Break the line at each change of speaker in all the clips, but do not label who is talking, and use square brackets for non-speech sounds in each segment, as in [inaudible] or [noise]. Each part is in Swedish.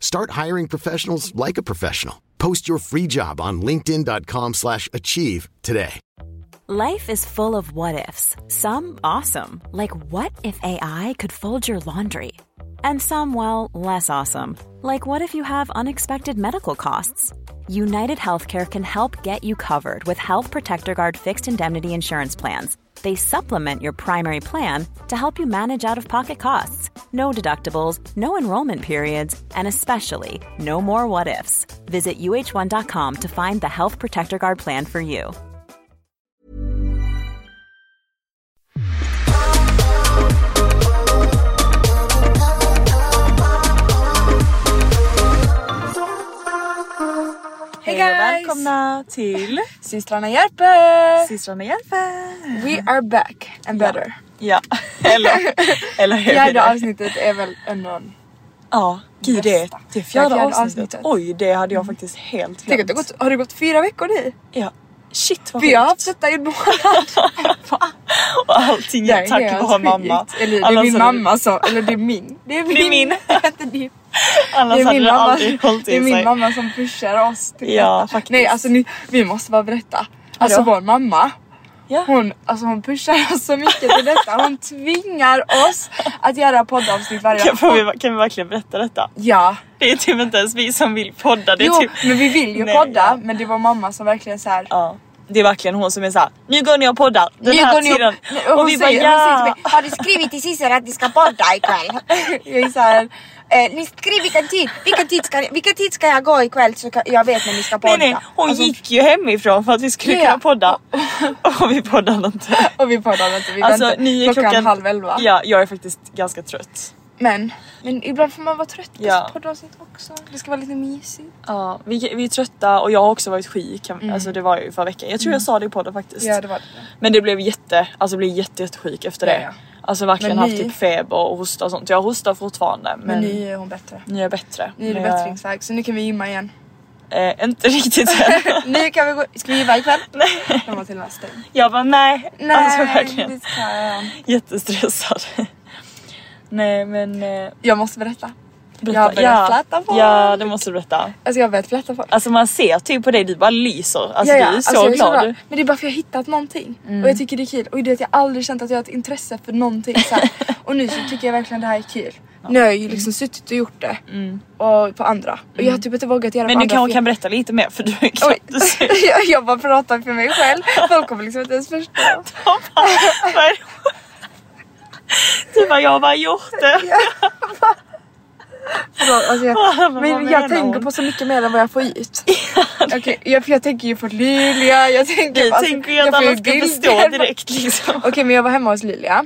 Start hiring professionals like a professional. Post your free job on linkedin.com/achieve slash achieve today.
Life is full of what ifs. Some awesome, like what if AI could fold your laundry? And some, well, less awesome, like what if you have unexpected medical costs? United Healthcare can help get you covered with Health Protector Guard fixed indemnity insurance plans. They supplement your primary plan to help you manage out of pocket costs. No deductibles, no enrollment periods, and especially no more what ifs. Visit uh1.com to find the Health Protector Guard plan for you.
Hej
Hej och
guys!
välkomna till
Systrarna hjälper!
Systrarna hjälper!
We are back and [laughs] better.
Ja, eller, eller hur?
Fjärde avsnittet är väl ändå en...
Ja, gud det,
Bästa.
det är fjärde,
Fjärde
avsnittet.
avsnittet.
Oj, det hade jag faktiskt helt
Tänk att
glömt.
det har gått, har det gått fyra veckor nu?
Ja. Shit vad
Vi har haft
sjukt.
detta i en [laughs] månad.
Och allting
Det
är
är
tack
helt
vare
sjukt.
mamma.
Eller det är
Annars
min
hade-
mamma som... Eller det är min. [laughs] Det är min.
min.
Inte din.
Annars
Det är
hade
min,
det
mamma,
aldrig hållit
det är
i
min
sig.
mamma som pushar oss till
Ja,
detta.
faktiskt.
Nej alltså ni, vi måste bara berätta. Alltså
Vadå?
vår mamma,
Ja.
hon, alltså, hon pushar oss så mycket till detta. Hon tvingar oss att göra poddavsnitt [laughs] varje
Kan, får vi, kan vi verkligen berätta detta?
Ja.
Det är typ inte ens vi som vill podda. Det är
Jo
typ...
men vi vill ju
Nej,
podda
ja.
men det var mamma som verkligen så här.
Ja. Det är verkligen hon som är såhär, nu går ni och poddar den
Nu
här
går ni
tiden.
upp. Och
och
hon,
vi bara
säger, hon säger
ja!
till mig, har du skrivit till Sissel att ni ska podda ikväll? [laughs] jag är såhär, eh, ni skriv vilken tid, vilken tid ska, vilken tid ska jag gå ikväll så kan- jag vet när ni ska podda.
Nej nej, hon
Alltså,
gick ju hemifrån för att vi skulle
Ja, ja. [laughs]
kunna podda. Och vi poddade inte.
Och vi poddar inte, vi
Alltså
väntar
ni är
klockan,
klockan,
halv elva.
Ja, jag är faktiskt ganska trött.
Men, men ibland får man vara trött på
Ja.
sitt poddavsnitt också. Det ska vara lite mysigt.
Ja, vi, vi är trötta och jag har också varit sjuk. Alltså det var jag ju förra veckan. Jag tror jag sa det i podden faktiskt.
Mm. Ja det var det.
Men det blev jätte, alltså blev jätte, jättesjuk efter
Ja,
det.
ja.
Alltså verkligen
Men
haft
ni-
typ feber och hosta och sånt. Jag hostar fortfarande men,
Men nu är hon bättre.
nu är jag bättre.
Nu är det
Men jag-
bättringsväg så nu kan vi gymma igen. [laughs]
Eh, inte [laughs] riktigt än.
nu kan vi gå, ska vi gymma ikväll? Nej. De var till och med stängd.
jag bara nej.
Nej,
alltså verkligen.
det ska jag inte.
Jättestressad. [laughs] nej men... eh,
Jag måste berätta.
berätta.
Jag har börjat fläta folk.
Ja det måste du berätta.
Alltså jag har börjat flätta folk.
Alltså man ser typ på dig, du bara lyser. Alltså du är så Mm.
alltså jag
glad.
glad. Men det är bara för jag har hittat någonting och jag tycker det är kul. Och det är att jag aldrig känt att jag har ett intresse för någonting så
[laughs]
här. Och nu så tycker jag verkligen det här är kul. Nu har jag ju
Mm.
liksom suttit och gjort det och på andra. Och jag har typ inte vågat göra
Men
på
du
andra.
kanske
för
kan berätta lite mer för du är
jag-
knappt
[laughs]
[laughs]
Oj. jag, jag bara pratar för mig själv. Folk kommer liksom inte ens förstå.
[laughs] Du bara jag har bara gjort det.
Förlåt, alltså jag,
[laughs] Vad
men
menar
jag tänker
hon?
på så mycket mer än vad jag får
[laughs]
ut. Okej, jag, för jag tänker ju på Lilia, jag tänker
Du
på... alltså,
tänker ju att
jag får
alla ska
bilder
förstå
på-
direkt liksom.
Okej men jag var hemma hos Lilia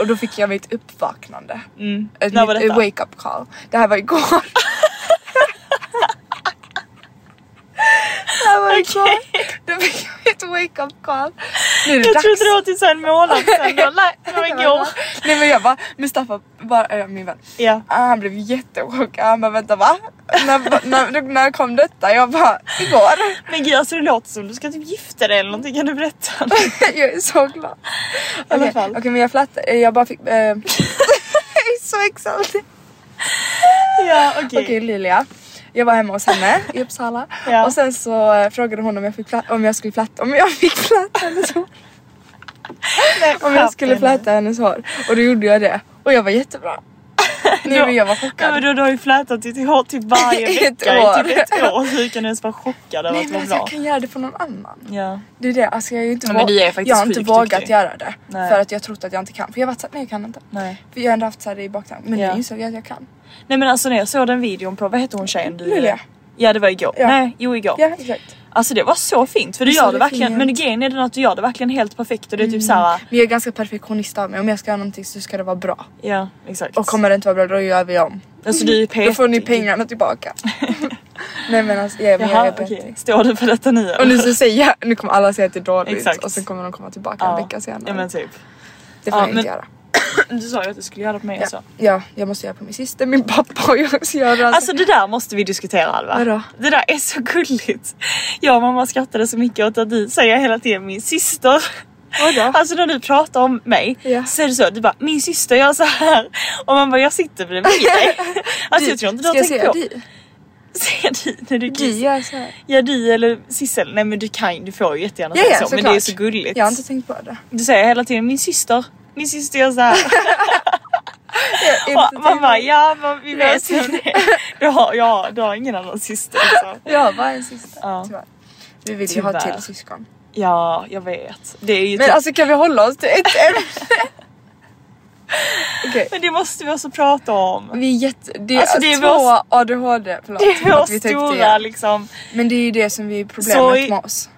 och då fick jag mitt uppvaknande.
Mm.
Ett
När var
nytt, eh,
detta?
wake up call. Det här var igår. det här var igår. Då fick jag mitt wake up call. Nu är det
Jag
dags.
trodde det var till så en månad sedan. Jag bara, Nej,
[laughs]
det var
Det var
igår.
igår. Nej men jag bara, Mustafa, bara, äh, min vän,
Ja.
Ah, han blev jättechockad. Han bara vänta va? när, när, när kom detta? Jag bara igår.
Men gud alltså det låter som du ska typ gifta dig eller någonting. Kan du berätta? [laughs]
[laughs] jag är så glad. I
alla fall.
Okej men jag flätar, eh, jag bara fick...
[laughs]
Eh, [laughs] jag är så exalterad.
Ja
Okej
okej.
Lilia. Jag var hemma hos henne i Uppsala
Ja.
och sen så eh, frågade hon om jag, fick flat, om jag skulle flätta om jag fick flätta hennes hår.
Nej,
Om
skärp
jag skulle
dig nu. [laughs]
fläta hennes hår. Och då gjorde jag det. Och jag var jättebra. Nej men jag var
Ja, men
chockad.
då, du har ju flätat ditt hår
[laughs]
typ varje
Ett
vecka i
år.
typ ett år. Så hur kan du ens vara chockad över
Nej
att
men
det
alltså,
var
jag
bra?
kan göra det för någon annan.
Ja.
Det är det, alltså jag, är ju inte
Ja, men
vå-
du är faktiskt
jag har inte
sjukt
vågat
duktig.
göra det.
Nej.
För att jag trott att jag inte kan. För jag har varit såhär, nej jag kan inte.
Nej.
För jag har ändå haft såhär i baktanken. Men
Ja.
nu insåg jag att jag kan.
Nej men alltså när jag såg den videon på, vad heter hon tjejen du...
Julia.
Ja det var igår.
Ja.
Nej, jo igår.
Ja exakt.
Alltså det var så fint för du
Visst är
gör
Mm. det
det verkligen,
fint?
men grejen är den att du gör det verkligen helt perfekt och det är typ såhär,
Men jag är ganska perfektionist av mig. Om jag ska göra någonting så ska det vara bra.
ja exakt.
Och kommer det inte vara bra då gör vi om.
Alltså du är petig.
Då får ni pengarna tillbaka. [laughs] nej men alltså jag, men jag
Jaha
är
okej,
petig.
står du för detta nu eller?
Och nu så säger jag, nu kommer alla säga att det är dåligt
Exakt.
och sen kommer de komma tillbaka en
ja.
vecka senare.
Ja men typ.
det får
ja,
jag inte
men-
göra.
Du sa ju att du skulle göra det på mig
Ja. Alltså-
också.
ja, jag måste göra på min syster, min pappa och jag måste göra
Alltså det där måste vi diskutera Alva.
Vadå?
Det där är så gulligt. Jag och mamma skrattade så mycket åt att du säger hela tiden min syster.
Vadå?
Alltså när du pratar om mig
Ja.
så är det så, du bara min syster gör så här och man bara jag sitter
[laughs]
bredvid dig. Alltså jag tror inte du har
Ska jag
tänkt
säga
[laughs] på.
di?
Säga di när du
Di
kissar.
gör såhär.
Ja du eller Sissel, nej men du kan du får ju jättegärna
Ja,
säga
ja,
så men
såklart.
det är så gulligt.
Jag har inte tänkt på det.
Du säger hela tiden min syster, min syster
[laughs]
gör så här. [laughs]
Inte
och
tänkt
man
på
bara
det.
ja men vi vet
Nej, typ.
hur det [laughs] är. Du har, ja, du har ingen annan syster så.
[laughs] Jag har bara en syster
Ja.
tyvärr. Vi vill ju ha
Tyvärr.
till syskon.
Ja jag vet. Det är ju
Men
typ-
alltså kan vi hålla oss till ett ämne? [laughs] Okej,
men det måste vi också prata om.
[laughs] vi är jätte... Det är,
Alltså, det är
två
vår-
ADHD, förlåt.
Det är
att
vår
vi tar upp det
stora
igen.
liksom
Men det är ju det som vi är problemet
Så i-
med oss.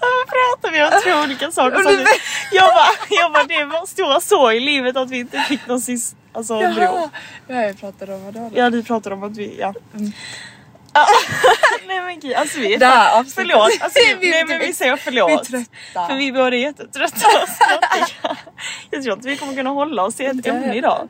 Varför pratar vi om två olika saker
Och du
samtidigt?
vet-
Jag bara, jag bara, det är vår stora sorg i livet att vi inte fick någon sys, alltså en bror.
Jaha, det här jag pratade om ADHD.
Ja ni pratade om att vi, ja. Ah, [laughs] nej men gud, alltså vi är
Mm. Det här avsnittet.
förlåt. Alltså,
[laughs] Vi- typ-
vi, nej men vi säger förlåt.
Vi är trötta.
För vi båda är
[laughs]
jättetrötta och snottiga. Jag tror inte vi kommer kunna hålla oss i ett
Inte jag
ämne
heller.
idag.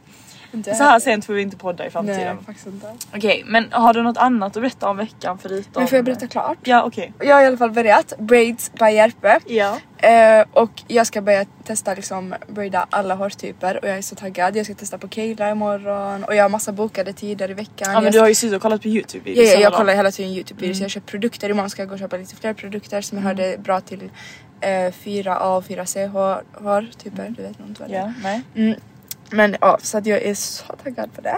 Inte
Så här sent får vi inte podda i framtiden.
Nej, faktiskt inte.
Okej men har du något annat att berätta om veckan förutom?
Men får jag berätta klart?
Ja okej.
Jag har i alla fall börjat braids by Järpe.
Ja.
Eh, och jag ska börja testa liksom braida alla hårtyper och jag är så taggad. Jag ska testa på Kayla imorgon och jag har massa bokade tider i veckan.
Ja men
jag
du har ju suttit och kollat på youtube
Ja, ja,
hela
jag
dagen.
kollar hela tiden
Mm.
Youtube-videos. Jag köper produkter. Imorgon ska jag gå och köpa lite fler produkter som jag hörde bra till eh, 4A och 4C hår, hårtyper. Du vet nog inte vad det
Mm. Ja,
är.
nej.
Men ja, så att jag är så taggad på det.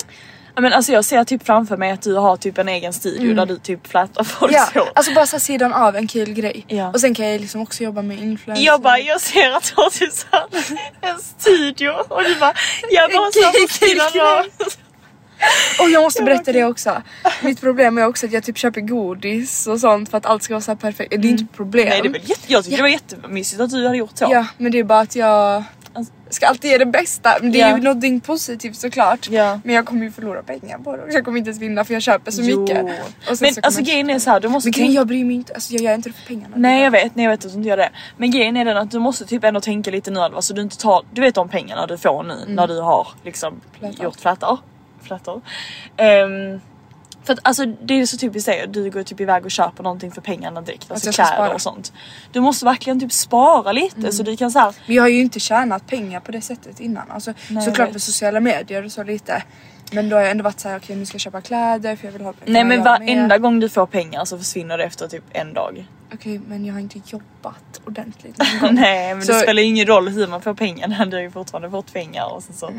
Ja, Men alltså jag ser typ framför mig att du har typ en egen studio där du typ flätar folks
Mm. Ja,
hår.
alltså bara så här sidan av en kul grej.
Ja.
Och sen kan jag liksom också jobba med influencers.
Jag bara, jag ser att du har typ så här en studio och du bara, jag bara så här på sidan av.
Och jag måste berätta det också. Mitt problem är också att jag typ köper godis och sånt för att allt ska vara så här perfekt. Det är inte ett problem.
Mm. Nej det är väl jätte, jag tyckte det var jättemysigt att du hade gjort så.
Ja, men det är bara att jag
Alltså-
ska alltid ge det bästa. Men det är
Ja.
ju någonting positivt såklart.
Ja.
Men jag kommer ju förlora pengar på det. Och Jag kommer inte ens vinna för jag köper så
Jo.
mycket. Och sen
Men
så kommer
alltså
jag-
grejen är så här, du måste
Men grejen,
tänka-
jag bryr mig inte. Alltså jag gör inte det för pengarna.
Nej jag vet, nej jag vet att du inte gör det. Men grejen är den att du måste typ ändå tänka lite nu Alva så du inte tar, du vet de pengarna du får nu
Mm.
när du har liksom
Flätor.
gjort flätor. flätor. Ehm, för att alltså det är så typiskt dig, du går typ iväg och köper någonting för pengarna direkt. Alltså
jag ska
kläder
spara. Mm.
och sånt. Du måste verkligen typ spara lite så du kan såhär,
Men jag har ju inte tjänat pengar på det sättet innan. Alltså,
Nej, jag
såklart
vet.
på sociala medier och så lite. Men då har jag ändå varit såhär okej nu ska jag köpa kläder för jag vill ha pengar.
nej men
jag har
varenda
med.
gång du får pengar så försvinner det efter typ en dag.
Okej men jag har inte jobbat ordentligt någon gång.
[laughs] [laughs] nej men det
Så-
spelar ju ingen roll hur man får pengarna, [laughs] du har ju fortfarande fått pengar och sen så.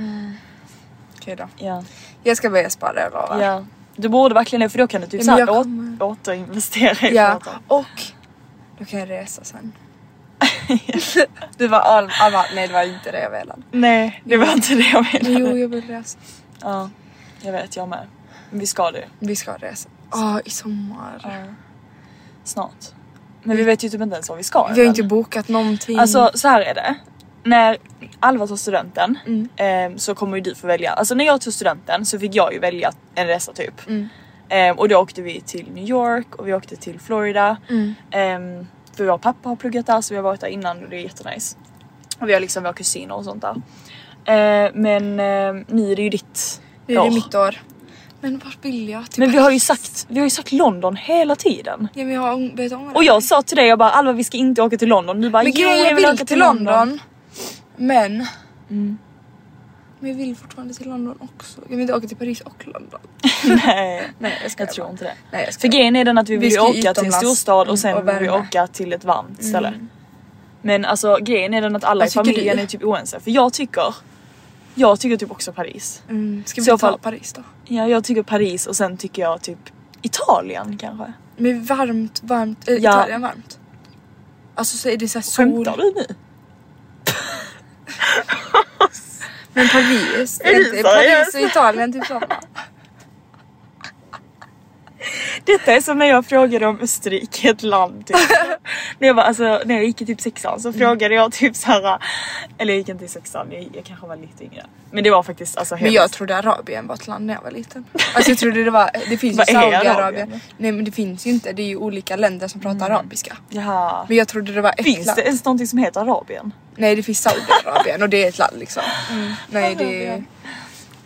Okej då.
Ja.
Jag ska börja spara jag lovar.
Ja. Du borde verkligen det för då kan du typ
Ja,
såhär
men jag
åt,
kommer-
återinvestera i
Ja,
företag.
och då kan jag resa sen. [laughs] du var all, alla, nej det var inte det jag velade.
Nej det var inte det jag menade.
Jo jag vill resa.
Ja, jag vet jag med. Men vi ska det
Vi ska resa. Ja i sommar.
snart. Men vi vet ju typ inte ens vad vi ska.
Vi har
än.
inte bokat någonting.
Alltså så här är det. När Alva tog studenten
Mm.
ehm, så kommer ju du få välja. Alltså när jag tog studenten så fick jag ju välja en resa typ.
Mm.
Ehm, och då åkte vi till New York och vi åkte till Florida.
Mm.
Ehm, för vår pappa har pluggat där så vi har varit där innan och det är jättenice. Och vi har liksom våra kusiner och sånt där. Ehm, men ehm, nu är det ju ditt
nu är
år.
det mitt år. Men vart vill jag? Typ
Men vi har ju sagt, vi har ju sagt London hela tiden.
Ja, men jag har ång- börjat ångra
Och
mig.
jag sa till dig jag bara Alva vi ska inte åka till London. Du bara
Men
jo
grejen jag vill
åka Mm.
till, London. Men... Men jag vill fortfarande till London också. Jag vill inte åka till Paris och London.
[laughs] Nej,
Nej jag ska
jag tror inte det.
Nej jag ska
För grejen är den att vi vill
Vi
ju
ska ju
åka till en
utomlands.
storstad och sen
Mm, och
vill vi
värme.
åka till ett varmt ställe. Men alltså grejen är den att alla
Vad
i
tycker
familjen
du?
är typ oense. För jag tycker Jag tycker typ också Paris.
Mm. Ska vi
Så
ta
fall-
Paris då?
Ja, jag tycker Paris och sen tycker jag typ Italien kanske.
Men varmt, varmt, äh,
Ja.
Italien varmt. Alltså så är det såhär sol.
Skämtar du nu?
Men Paris,
Är
är
du
inte,
seriös?
Paris och Italien
[laughs]
typ samma.
Detta är som när jag frågade om Österrike, ett
[laughs]
land typ. när, jag var, alltså, när jag gick i typ sexan
Mm.
så frågade jag typ såhär, eller jag gick inte i sexan, jag, jag kanske var lite yngre. Men det var faktiskt alltså
Men jag trodde Arabien var ett land när jag var liten. Alltså jag trodde det var, det finns ju
Vad är
Saudiarabien.
Arabien?
Nej men det finns ju inte, det är ju olika länder som pratar arabiska.
Jaha.
Men jag trodde det var ett
Finns
land.
det ens någonting som heter Arabien?
Nej det finns Saudiarabien och det är ett land liksom. Nej det...
Mm. Arabien. Mm.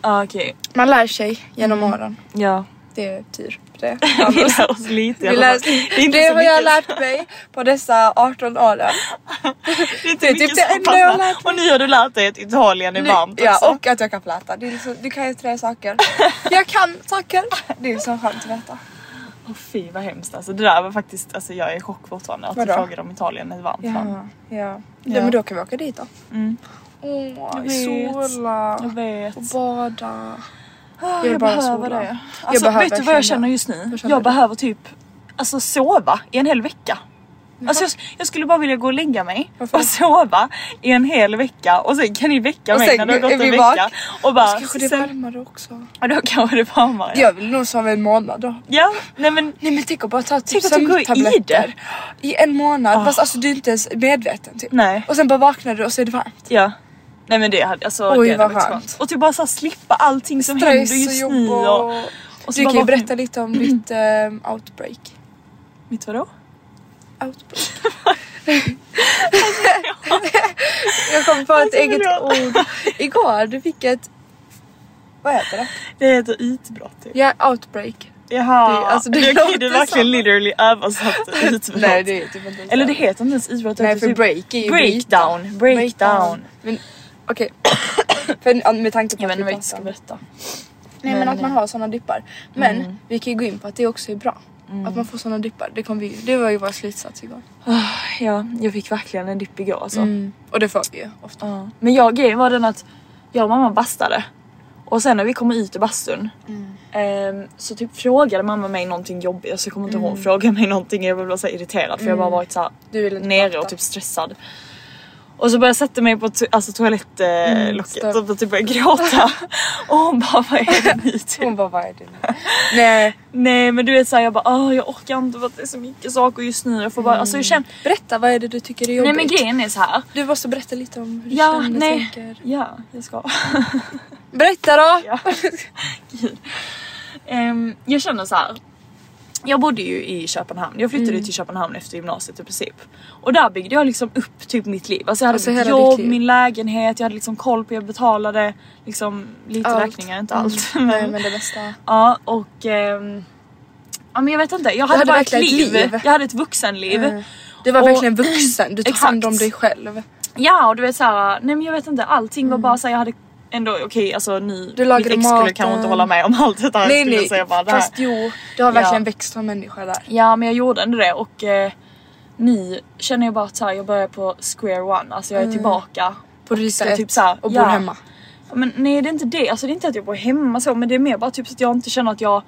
Ah, Okej,
Man lär sig genom åren.
ja.
Det är tur på
[laughs]
det.
Vi lär oss lite
Vi
i alla fall.
lär,
Det
det
är inte
det
så
har jag
mycket-
lärt mig på dessa 18 åren.
Det är inte
det är
mycket
typ det
som
enda jag har
passar.
lärt
Och nu har du lärt dig att Italien är
Nu-
varmt också.
ja, och att jag kan fläta. Det är liksom, du kan ju tre saker. Jag kan saker. Det är så skönt att veta.
Åh, fy vad hemskt alltså. Det där var faktiskt, alltså jag är i chock fortfarande att
Vadå?
du frågade om Italien är ett varmt land.
Ja, ja. ja men då kan vi åka dit då.
Mm.
Åh,
Jag
i
vet.
sola.
Jag vet.
Och bada.
Jag,
vill bara sola.
det. Alltså,
behöver
vet du vad jag
känna-
känner just nu?
Vad känner
Jag
du?
behöver typ alltså, sova i en hel vecka. Alltså, jag, jag skulle bara vilja gå och lägga mig
Varför?
och sova i en hel vecka och sen kan ni väcka
Och
mig
sen
när det har
är
gått en
vi
vecka.
vak-
Och bara,
Så kanske det är
sen,
varmare också.
ja, då kanske det är varmare. Ja.
Jag vill nog sova en månad då.
ja, nej men
Nej men tänk att bara ta typ
Tänk att du går i Ah.
sömntabletter i en månad fast alltså du är inte ens medveten typ.
Nej.
Och sen bara vaknar du och så är det varmt.
ja. Nej men det hade alltså
Oj,
det
vad
hade varit
skönt.
Och typ bara så här, slippa allting som händer
Stress och
just
jobb
nu.
och...
Och, och så
Du
bara
kan ju
vakna-
berätta lite
[clears throat]
om ditt ehm, outbreak.
Mitt vadå?
Outbreak. [laughs] jag kom på ett eget
förlåt.
ord. Igår du fick ett... Vad heter det?
Det heter utbrott typ.
Ja, outbreak.
Jaha,
Det- alltså, det
det
låter
är du verkligen
som-
literally översatt utbrott.
Nej det är typ inte ens
Eller det heter inte ens utbrott. det
Nej
heter
för
typ
break är ju
breakdown. Breakdown.
Men okej. [coughs] för, med tanke på
Jag
att vi
vet inte vad jag
pratar
ska
om-
berätta.
Nej men att man har sådana dippar. Men vi kan ju gå in på att det också är bra. Att man får sådana dippar. Det, kom vi, det var ju vår slutsats igår.
Ja, jag fick verkligen en dipp igår
Mm.
alltså.
Och det får vi ju ofta.
Ja. Men jag, grejen var den att jag och mamma bastade. Och sen när vi kom ut ur bastun
Mm.
ehm, så typ frågade mamma mig någonting jobbigt. Alltså jag kommer inte ihåg, hon frågade mig någonting jag blev så här irriterad för jag bara varit så här
Mm. Du ville inte
nere
prata.
och typ stressad. Och så började jag sätta mig på to- alltså toalettlocket eh, locket
stopp.
och bara typ började
[laughs]
gråta. och hon bara vad är det nu typ?
Hon bara vad är det nu? Nej.
Nej men du vet såhär jag bara "Åh, jag orkar inte för att det är så mycket saker just nu. Jag får bara, alltså jag känner,
Berätta vad är det du tycker är
nej
Mm. jobbigt?
men grejen är så här.
Du måste berätta lite om hur du
Ja,
känner
nej.
tänker.
Ja, jag ska.
Berätta då!
Ja. Gud. Ehm, jag känner så här. Jag bodde ju i Köpenhamn. Jag flyttade
Mm.
till Köpenhamn efter gymnasiet i princip. Och där byggde jag liksom upp typ mitt liv. Alltså jag hade
Alltså
mitt
hela ditt
jobb,
liv.
min lägenhet, jag hade liksom koll på, jag betalade liksom lite
Allt.
räkningar, inte allt.
Mm.
[laughs] Men,
Nej men det bästa.
Ja och... ehm, ja men jag vet inte, jag hade,
hade
bara ett
verkligen
liv.
ett liv. Mm.
Jag hade ett vuxenliv.
Du var
Och-
verkligen vuxen, du tog hand om
Exakt.
dig själv.
Ja och du vet såhär, nej men jag vet inte allting var bara såhär jag hade ändå okej alltså ni,
Mm. Du lagade
mitt ex skulle
maten.
kanske inte hålla med om allt det här
Nej
skulle
nej,
säga bara det här.
fast jo, du har verkligen
Ja.
växt som människa där.
Ja men jag gjorde ändå det och eh, nu känner jag bara att så här, jag börjar på square one, alltså jag
Mm.
är tillbaka.
På ruta
ska
ett
typ så här-
och bor
ja.
hemma.
Men nej det är inte det, alltså det är inte att jag bor hemma så men det är mer bara typ så att jag inte känner att jag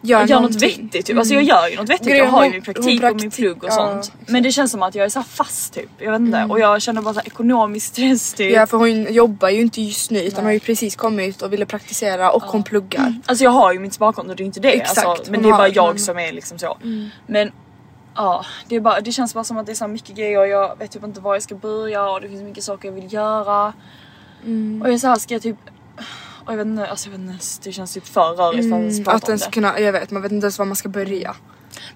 Gör,
gör något
någonting. Mm.
vettigt typ. Alltså jag gör ju något vettigt,
Grejen,
jag har ju
hon-
min
hon
praktik och min
praktik-
plugg och
ja, Mm.
sånt. Men det känns som att jag är så här fast typ, jag vet inte. Och jag känner bara så här, [laughs] ekonomisk stress typ.
Ja för hon jobbar ju inte just nu utan hon har ju precis kommit och ville praktisera och hon pluggar.
Alltså jag har ju mitt sparkonto, det är inte det.
Exakt,
alltså, men
hon
det är
har mm.
bara
det,
jag
men-
som är liksom så. Men ja, det, är bara, det känns bara som att det är så här mycket grejer och jag vet typ inte var jag ska börja och det finns mycket saker jag vill göra.
Mm.
Och jag är så här, ska jag typ... Och jag vet inte, alltså jag vet inte, det känns typ för rörigt för ens
Mm. Att
pratande.
ens kunna, jag vet man vet inte ens var man ska börja.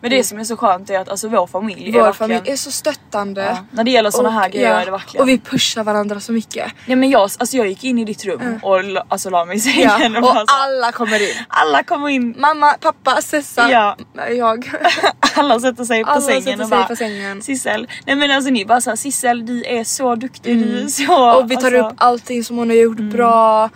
Men det som är så skönt är att alltså vår familj är
Vår
verkligen...
familj är så stöttande.
Ja, när det gäller såna här grejer är det verkligen...
Och vi pushar varandra så
[laughs]
mycket.
Nej men jag, alltså jag gick in i ditt rum och la- alltså la mig
Mm.
i
Ja.
sängen och, bara
Och
så här,
alla kommer in.
alla kommer in,
Mamma, pappa, Sessa,
Ja.
jag.
alla sätter sig på
Alla
sängen
sätter
och
sig
bara
på sängen.
Sissel, nej men alltså ni bara såhär Sissel du är så duktig, du är så...
Mm. Och vi tar
alltså, Mm.
upp allting som hon har gjort bra.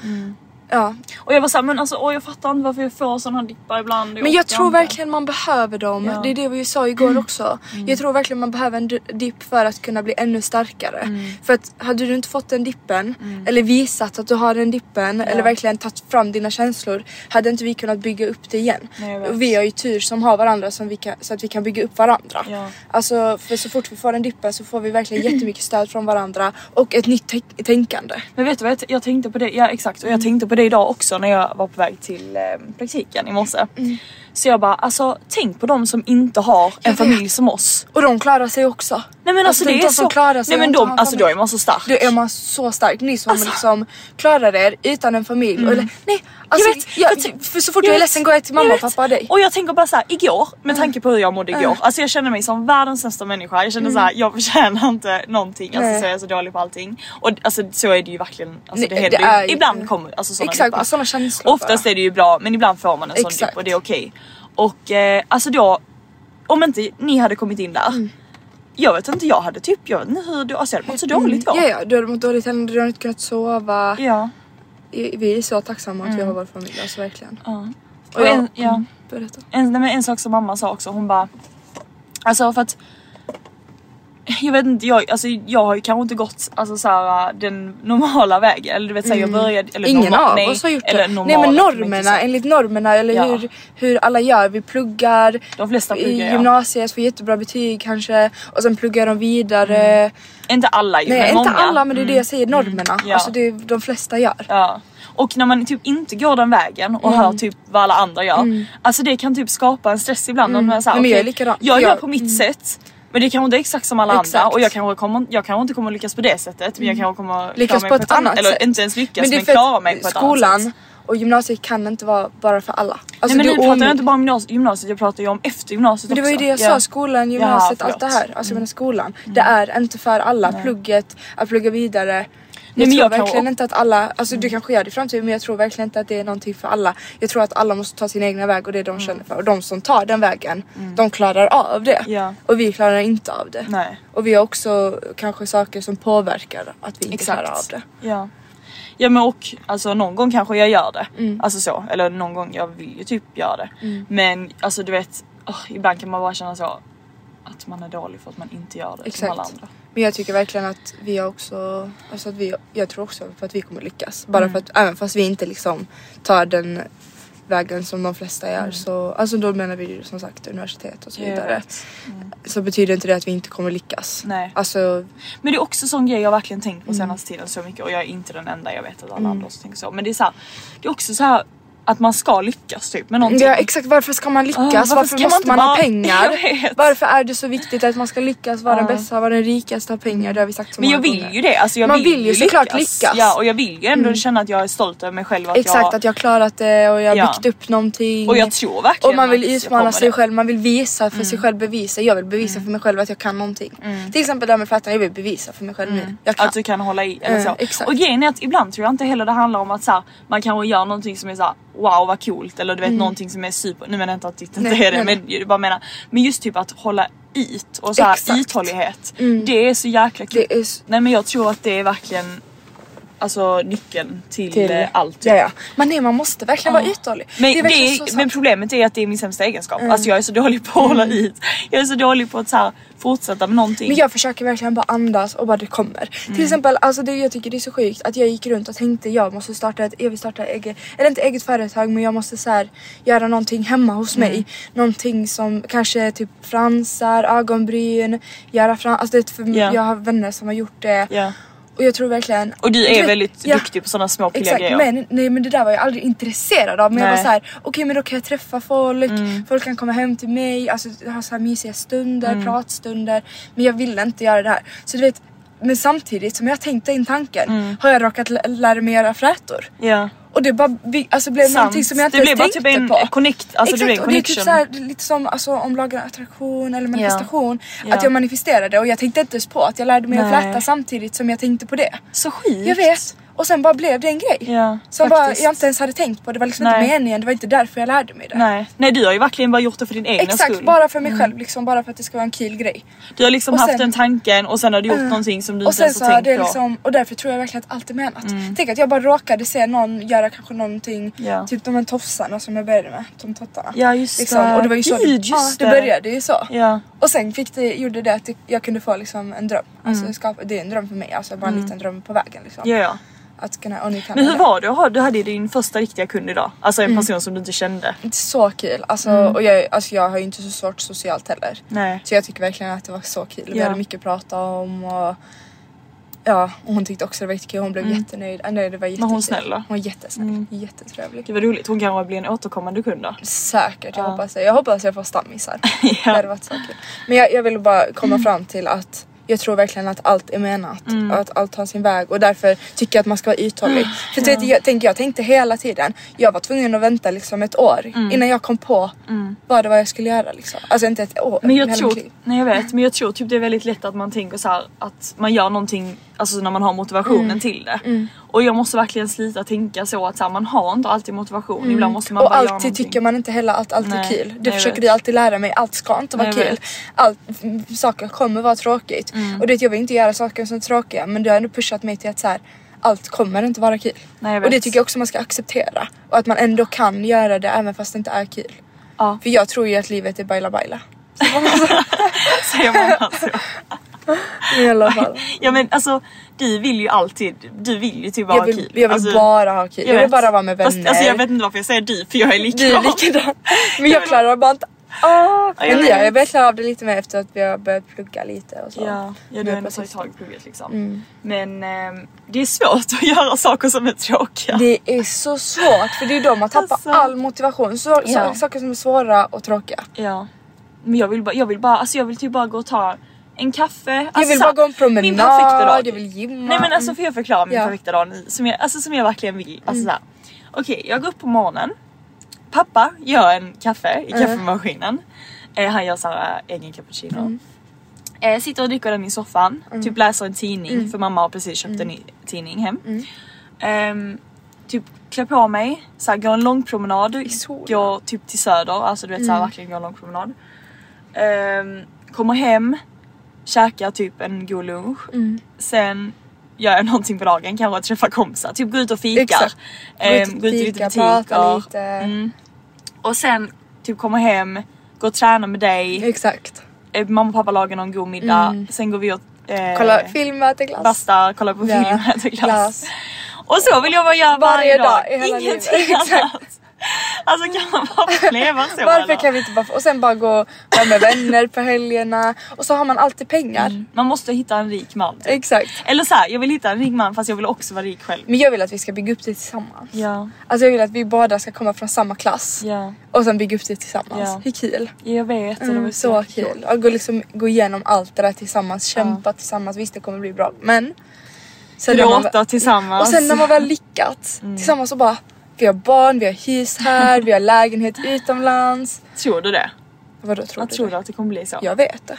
Ja.
Och jag var såhär, men alltså åh, jag fattar inte varför jag får sådana här dippar ibland.
Men jag
orkar
tror
inte.
verkligen man behöver dem.
Ja. Mm.
Det är det vi sa igår också. Jag tror verkligen man behöver en d- dipp för att kunna bli ännu starkare.
Mm.
För att hade du inte fått den dippen eller visat att du har den dippen eller verkligen tagit fram dina känslor hade inte vi kunnat bygga upp det igen.
Nej, jag vet.
och vi har ju tur som har varandra som vi kan, så att vi kan bygga upp varandra.
Ja.
Alltså för så fort vi får en dippen så får vi verkligen jättemycket stöd från varandra och ett nytt tänk- tänkande.
Men vet du vad jag, t- jag tänkte på det? Ja exakt och jag
Mm.
tänkte på det idag också när jag var på väg till eh, praktiken i morse.
Mm.
Så jag bara alltså tänk på de som inte har en
vet.
familj som oss.
Och de klarar sig också.
Nej men alltså,
de
det är
som
så.
klarar sig
Nej men
och inte
de,
har en
alltså då
familj.
är man så stark.
Då är man så stark. Ni som
Alltså. Mm.
liksom klarar er utan en familj. Och, eller, nej, alltså, jag
Jag vet, jag
jag,
ty-
för så fort jag är
vet,
ledsen går jag till
jag
mamma,
vet.
pappa och dig. Mm.
Och jag tänker bara såhär, igår, med tanke på hur jag mådde igår, alltså jag kände mig som världens sämsta människa. Jag kände såhär, jag förtjänar inte någonting, alltså
Mm. Nej.
så jag är så dålig på allting. Och alltså så är det ju verkligen, alltså
Nej,
det, händer
det är
ju.
ju-
Ibland kommer alltså sådana
Exakt,
dippar.
sådana känslor
Oftast
bara.
är det ju bra, men ibland får man en sån
Exakt.
dipp och det är okej. Och eh, alltså då, om inte ni hade kommit in där,
Mm.
jag vet inte, jag hade typ, jag vet inte hur, du- alltså jag hade mått så dåligt
Mm. Ja,
jag.
ja, du har mått dåligt heller, du har inte kunnat sova.
Ja. Mm.
I- Vi är så tacksamma att vi har vår familj, alltså verkligen.
Och
Ja.
en, ja.
Berätta.
en, nej, men en sak som mamma sa också, hon bara Alltså för att jag vet inte, jag, alltså, jag har ju kanske inte gått alltså, så här, den normala vägen. Eller du vet såhär jag började... Eller
Mm. Ingen
normal-
av
nej,
oss har gjort
eller
det.
Normal,
Nej men
kan man inte säga.
normerna, enligt normerna eller
Ja.
hur, hur alla gör. Vi pluggar
De flesta
i
pluggar, ja.
gymnasiet, får jättebra betyg kanske och sen pluggar de vidare.
Inte alla ju,
Nej
Mm. men
inte
många. Mm.
alla men det är det jag säger, normerna.
Ja.
Alltså det är de flesta gör.
Ja. Och när man typ inte går den vägen och
Mm.
hör typ vad alla andra gör. Alltså det kan typ skapa en stress ibland. Mm. Man är så här,
Nej, Mm. men jag är
okej,
likadan.
jag gör
Jag- mm.
på mitt sätt. Men det kanske inte är exakt som alla andra
Exakt. Mm.
och jag kanske, kommer, jag kanske inte kommer lyckas på det sättet men jag kanske kommer klara
lyckas
mig
på ett annat
eller
sätt.
inte ens lyckas men,
det är för att
klara mig på ett annat sätt.
Skolan och gymnasiet kan inte vara bara för alla. Alltså,
Nej, men
det
nu
är
pratar jag
omöjligt.
inte bara om gymnas- gymnasiet, jag pratar ju om efter gymnasiet
Men det var
också.
ju det jag
Ja.
sa, skolan, gymnasiet,
Ja,
allt det
förlåt. Mm.
här. Alltså jag menar skolan. Det är inte för alla. Plugget, att plugga vidare. jag
men
tror
jag kan Mm.
verkligen
o-
inte att alla, alltså du kanske gör det i framtiden men jag tror verkligen inte att det är någonting för alla. Jag tror att alla måste ta sin egna väg och det är de
Mm.
känner för. Och de som tar den vägen, de klarar av det.
Ja.
Och vi klarar inte av det.
Nej.
Och vi har också kanske saker som påverkar att vi inte klarar av det.
Ja. Ja men och alltså någon gång kanske jag gör det.
Mm.
Alltså så, eller någon gång jag vill ju typ göra det. Men alltså du vet, åh, ibland kan man bara känna så att man är dålig för att man inte gör det som alla
Exakt.
andra.
Men jag tycker verkligen att vi har också, alltså att vi, jag tror också på att vi kommer lyckas.
Mm.
Bara för att, även fast vi inte liksom tar den vägen som de flesta gör så, alltså då menar vi ju som sagt universitet och så
Mm. Jag
vidare.
vet. Mm.
Så betyder inte det att vi inte kommer lyckas.
Nej.
Alltså,
Men det är också sån grej jag verkligen tänkt på
Mm.
senaste tiden så mycket och jag är inte den enda jag vet att alla andra också tänker så. Men det är så här, det är också så här att man ska lyckas typ med någonting.
ja, exakt varför ska man lyckas?
Ah, varför
varför
ska man
måste
inte
man, ha
[laughs] bara-
pengar?
Jag vet. Ah.
Varför är det så viktigt att man ska lyckas vara den bästa, vara den rikaste, ha pengar? Det har vi sagt så
Men
många
jag vill
gånger.
ju det, alltså jag
Man vill ju såklart lyckas. Mm.
Ja och jag vill ju ändå känna att jag är stolt över mig själv. Att
Exakt,
jag,
att jag har klarat det och jag har
Ja.
byggt upp någonting.
Och jag tror verkligen
Mm. Och man vill
att jag
utmana
kommer
sig
det. Mm.
själv, man vill visa för sig själv, bevisa. Jag vill bevisa för mig själv att jag kan någonting. Till exempel det här med flätan, jag vill bevisa för mig själv nu. Jag kan.
Att du kan hålla i eller
Mm,
så.
exakt.
och grejen är att ibland tror jag inte heller det handlar om att så här, man kanske gör någonting som är så här, wow vad coolt eller du vet någonting som är super, nu menar jag inte att ditt inte
Mm. Nej,
är det
nej,
men jag bara menar, men just typ att hålla it och så här,
Exakt. Mm.
uthållighet. Det är så jäkla kul.
Det är s-
Nej men jag tror att det är verkligen Alltså nyckeln till, eh, allt. typ.
Ja, ja. Men nej, man måste verkligen vara uthållig.
Men, det
är verkligen så sant. Mm.
men problemet är att det är min sämsta egenskap. Alltså jag är så dålig på att hålla i. Jag är så dålig på att så här, fortsätta med någonting.
Men jag försöker verkligen bara andas och bara det kommer.
Mm.
Till exempel, alltså det jag tycker det är så sjukt att jag gick runt och tänkte jag måste starta ett, jag vill starta eget, eller inte eget företag men jag måste så här, göra någonting hemma hos
Mm.
mig. Någonting som kanske typ fransar, ögonbryn, göra frans, alltså det, är för
Ja.
jag har vänner som har gjort det.
Ja.
Och jag tror verkligen...
Och du är
vet-
väldigt
ja.
duktig på sådana små pilliga
Exakt,
grejer.
men, nej, men det där var jag aldrig intresserad av. Men jag
Nej.
var
Mm.
så här, okej men då kan jag träffa folk, folk kan komma hem till mig, alltså ha så här mysiga stunder, pratstunder. Men jag ville inte göra det här. Så du vet, men samtidigt som jag tänkte in tanken
Mm.
har jag råkat lä- lära mig göra frätor.
Ja.
Och det bara bi- alltså, blev
Sant.
någonting som jag inte
Det
ens
blev bara
tänkte
typ en
på.
connect- alltså, det blev en
och det är typ
connection.
så här, det är lite som alltså, om lagen av attraktion eller manifestation. Att jag manifesterade och jag tänkte inte ens på att jag lärde mig att
Nej.
fläta samtidigt som jag tänkte på det.
Så sjukt.
Jag vet. Och sen bara blev det en grej.
Ja,
som bara,
faktiskt.
jag inte ens hade tänkt på. Det var liksom
Nej.
inte meningen. Det var inte därför jag lärde mig det.
Nej. Mm. Nej du har ju verkligen bara gjort det för din egna
Exakt,
skull.
bara för mig själv. Liksom, bara för att det ska vara en kul grej.
Du har liksom
och
haft
sen-
den tanken och sen har du gjort någonting som du
och
inte
sen
ens
så
har
har det
tänkt på.
liksom, och därför tror jag verkligen att allt är menat. Tänk att jag bara råkade se någon göra kanske någonting,
Mm. Ja.
typ de här tofsarna som jag började med, tomtottarna.
Ja, just
liksom.
det.
Och det var ju så
Gud,
ja,
just
det
det.
började ju så.
Ja.
Och sen fick det, gjorde det att jag kunde få liksom en dröm. Alltså, skapa, det är en dröm för mig, alltså bara en liten dröm på vägen. Liksom.
Mm. Ja, ja.
Att kunna, och nu kan
Men
jag
hur
det.
var det att ha- Du hade ju din första riktiga kund idag. Alltså
Mm.
en person som du inte kände.
Så kul! Alltså,
Mm.
och jag, alltså, jag har ju inte så svårt socialt heller.
Nej.
Så jag tycker verkligen att det var så kul. Vi
Ja.
hade mycket att prata om och ja, och hon tyckte också det var jättekul. Hon blev jättenöjd. Ah, nej, det var
Mm. hon
jättekul.
snäll då? Mm.
Hon var jättesnäll. Jättetrevlig.
Gud vad roligt. Hon kanske blir en återkommande kund då. [laughs]
Säkert, jag
Ja.
hoppas det. Jag hoppas jag får stammisar.
[laughs]
Det
Ja.
hade varit så kul. Men jag, jag vill bara komma fram till att jag tror verkligen att allt är menat
Mm.
och att allt har sin väg och därför tycker jag att man ska vara uthållig. För ja. jag, tänk, jag tänkte hela tiden, jag var tvungen att vänta liksom ett år
Mm.
innan jag kom på vad det var jag skulle göra. Liksom. Alltså inte ett år,
Men jag
hela
tror,
mitt liv.
nej jag vet, men jag tror typ det är väldigt lätt att man tänker så här att man gör någonting alltså när man har motivationen
Mm.
till det. Och jag måste verkligen slita tänka så att så här, man har inte alltid motivation, ibland måste man
Mm. och
bara göra
alltid
någonting.
tycker man inte heller att allt är
Nej,
kul.
nej,
Det
jag
försöker
vet.
vi alltid lära mig. Allt ska inte vara
Nej, jag
kul.
vet. Mm.
Allt, m- saker kommer vara tråkigt. Och det, jag vill inte göra saker som är tråkiga men du har ändå pushat mig till att så här, allt kommer inte vara kul.
Nej, jag
och det
vet.
tycker jag också man ska acceptera. Och att man ändå kan göra det även fast det inte är kul.
Ja.
För jag tror ju att livet är baila baila.
[laughs] Säger man alltså.
I alla fall.
Ja men alltså du vill ju alltid, du vill ju typ [laughs] bara
Jag
ha
vill,
kul.
jag vill
alltså,
bara ha kul. Jag, vill
vet.
bara vara med vänner.
Fast, alltså jag vet inte varför jag säger du för jag är likadan. [laughs]
Du är likadan. Men jag klarar bara inte Ah,
Ja, jag
men jag,
vet.
jag börjar klara av det lite mer efter att vi har börjat plugga lite och så.
Ja, ja
Men
du har
jag bara
ändå tagit
tycker-
tag i plugget liksom.
Mm.
Men ehm, det är svårt att [laughs] göra saker som är tråkiga.
Det är så svårt för det är då man tappar
Alltså.
all motivation. Så,
Ja.
så, saker som är svåra och tråkiga.
Ja. Men jag vill bara, jag vill bara, alltså jag vill typ bara gå och ta en kaffe. Alltså
Jag vill
så här,
bara gå en
Min perfekta dag.
promenad, jag vill gymma.
Nej men alltså får jag förklara min
Ja. Mm.
perfekta dag nu, som jag, alltså, som jag verkligen vill. Alltså, så här. Okej, jag går upp på morgonen. Pappa gör en kaffe i
Mm.
kaffemaskinen. Eh, han gör såhär egen cappuccino.
Mm.
Eh, sitter och dricker den i soffan, typ läser en tidning
Mm.
för mamma har precis köpt en i- tidning hem. Ehm, typ klär på mig, såhär, går en lång promenad.
solen.
Går typ till söder, alltså du vet
Mm.
såhär verkligen går en lång promenad. Ehm, kommer hem, käkar typ en god lunch.
Mm.
Sen gör jag någonting på dagen, kanske träffa kompisar, typ gå ut och fikar.
Exakt.
Ehm,
Gå ut och fika, prata lite.
Mm. Och sen typ komma hem, gå och träna med dig,
Mm, Exakt.
eh, mamma och pappa lagar någon god middag, sen går vi och eh,
Mm. Kolla film, äta glass.
bastar, kollar på
Ja,
film, äter glass. Och så vill jag bara göra
Varje
varje,
dag i hela livet. [laughs]
ingenting
Exakt.
annat. Alltså kan man
[laughs]
bara leva så
Varför
eller?
kan vi inte bara få... Och sen bara gå och vara med vänner på helgerna. Och så har man alltid pengar.
Man måste hitta en rik man. typ.
Exakt.
Eller så här, jag vill hitta en rik man fast jag vill också vara rik själv.
Men jag vill att vi ska bygga upp det tillsammans.
Ja,
Alltså jag vill att vi båda ska komma från samma klass.
ja.
Och sen bygga upp det tillsammans.
Ja.
Hur kul?
Ja, Jag vet. och det var
Mm, så kul. Att gå, liksom, gå igenom allt det där tillsammans, kämpa tillsammans. Visst det kommer bli bra men... Sen när man väl-
Gråta tillsammans.
Och sen när man väl lyckats
Mm.
tillsammans så bara... Vi har barn, vi har hus här, vi har lägenhet utomlands.
Tror du det?
Vadå tror
Jag
du
tror
det?
att det kommer bli så.
Jag vet det.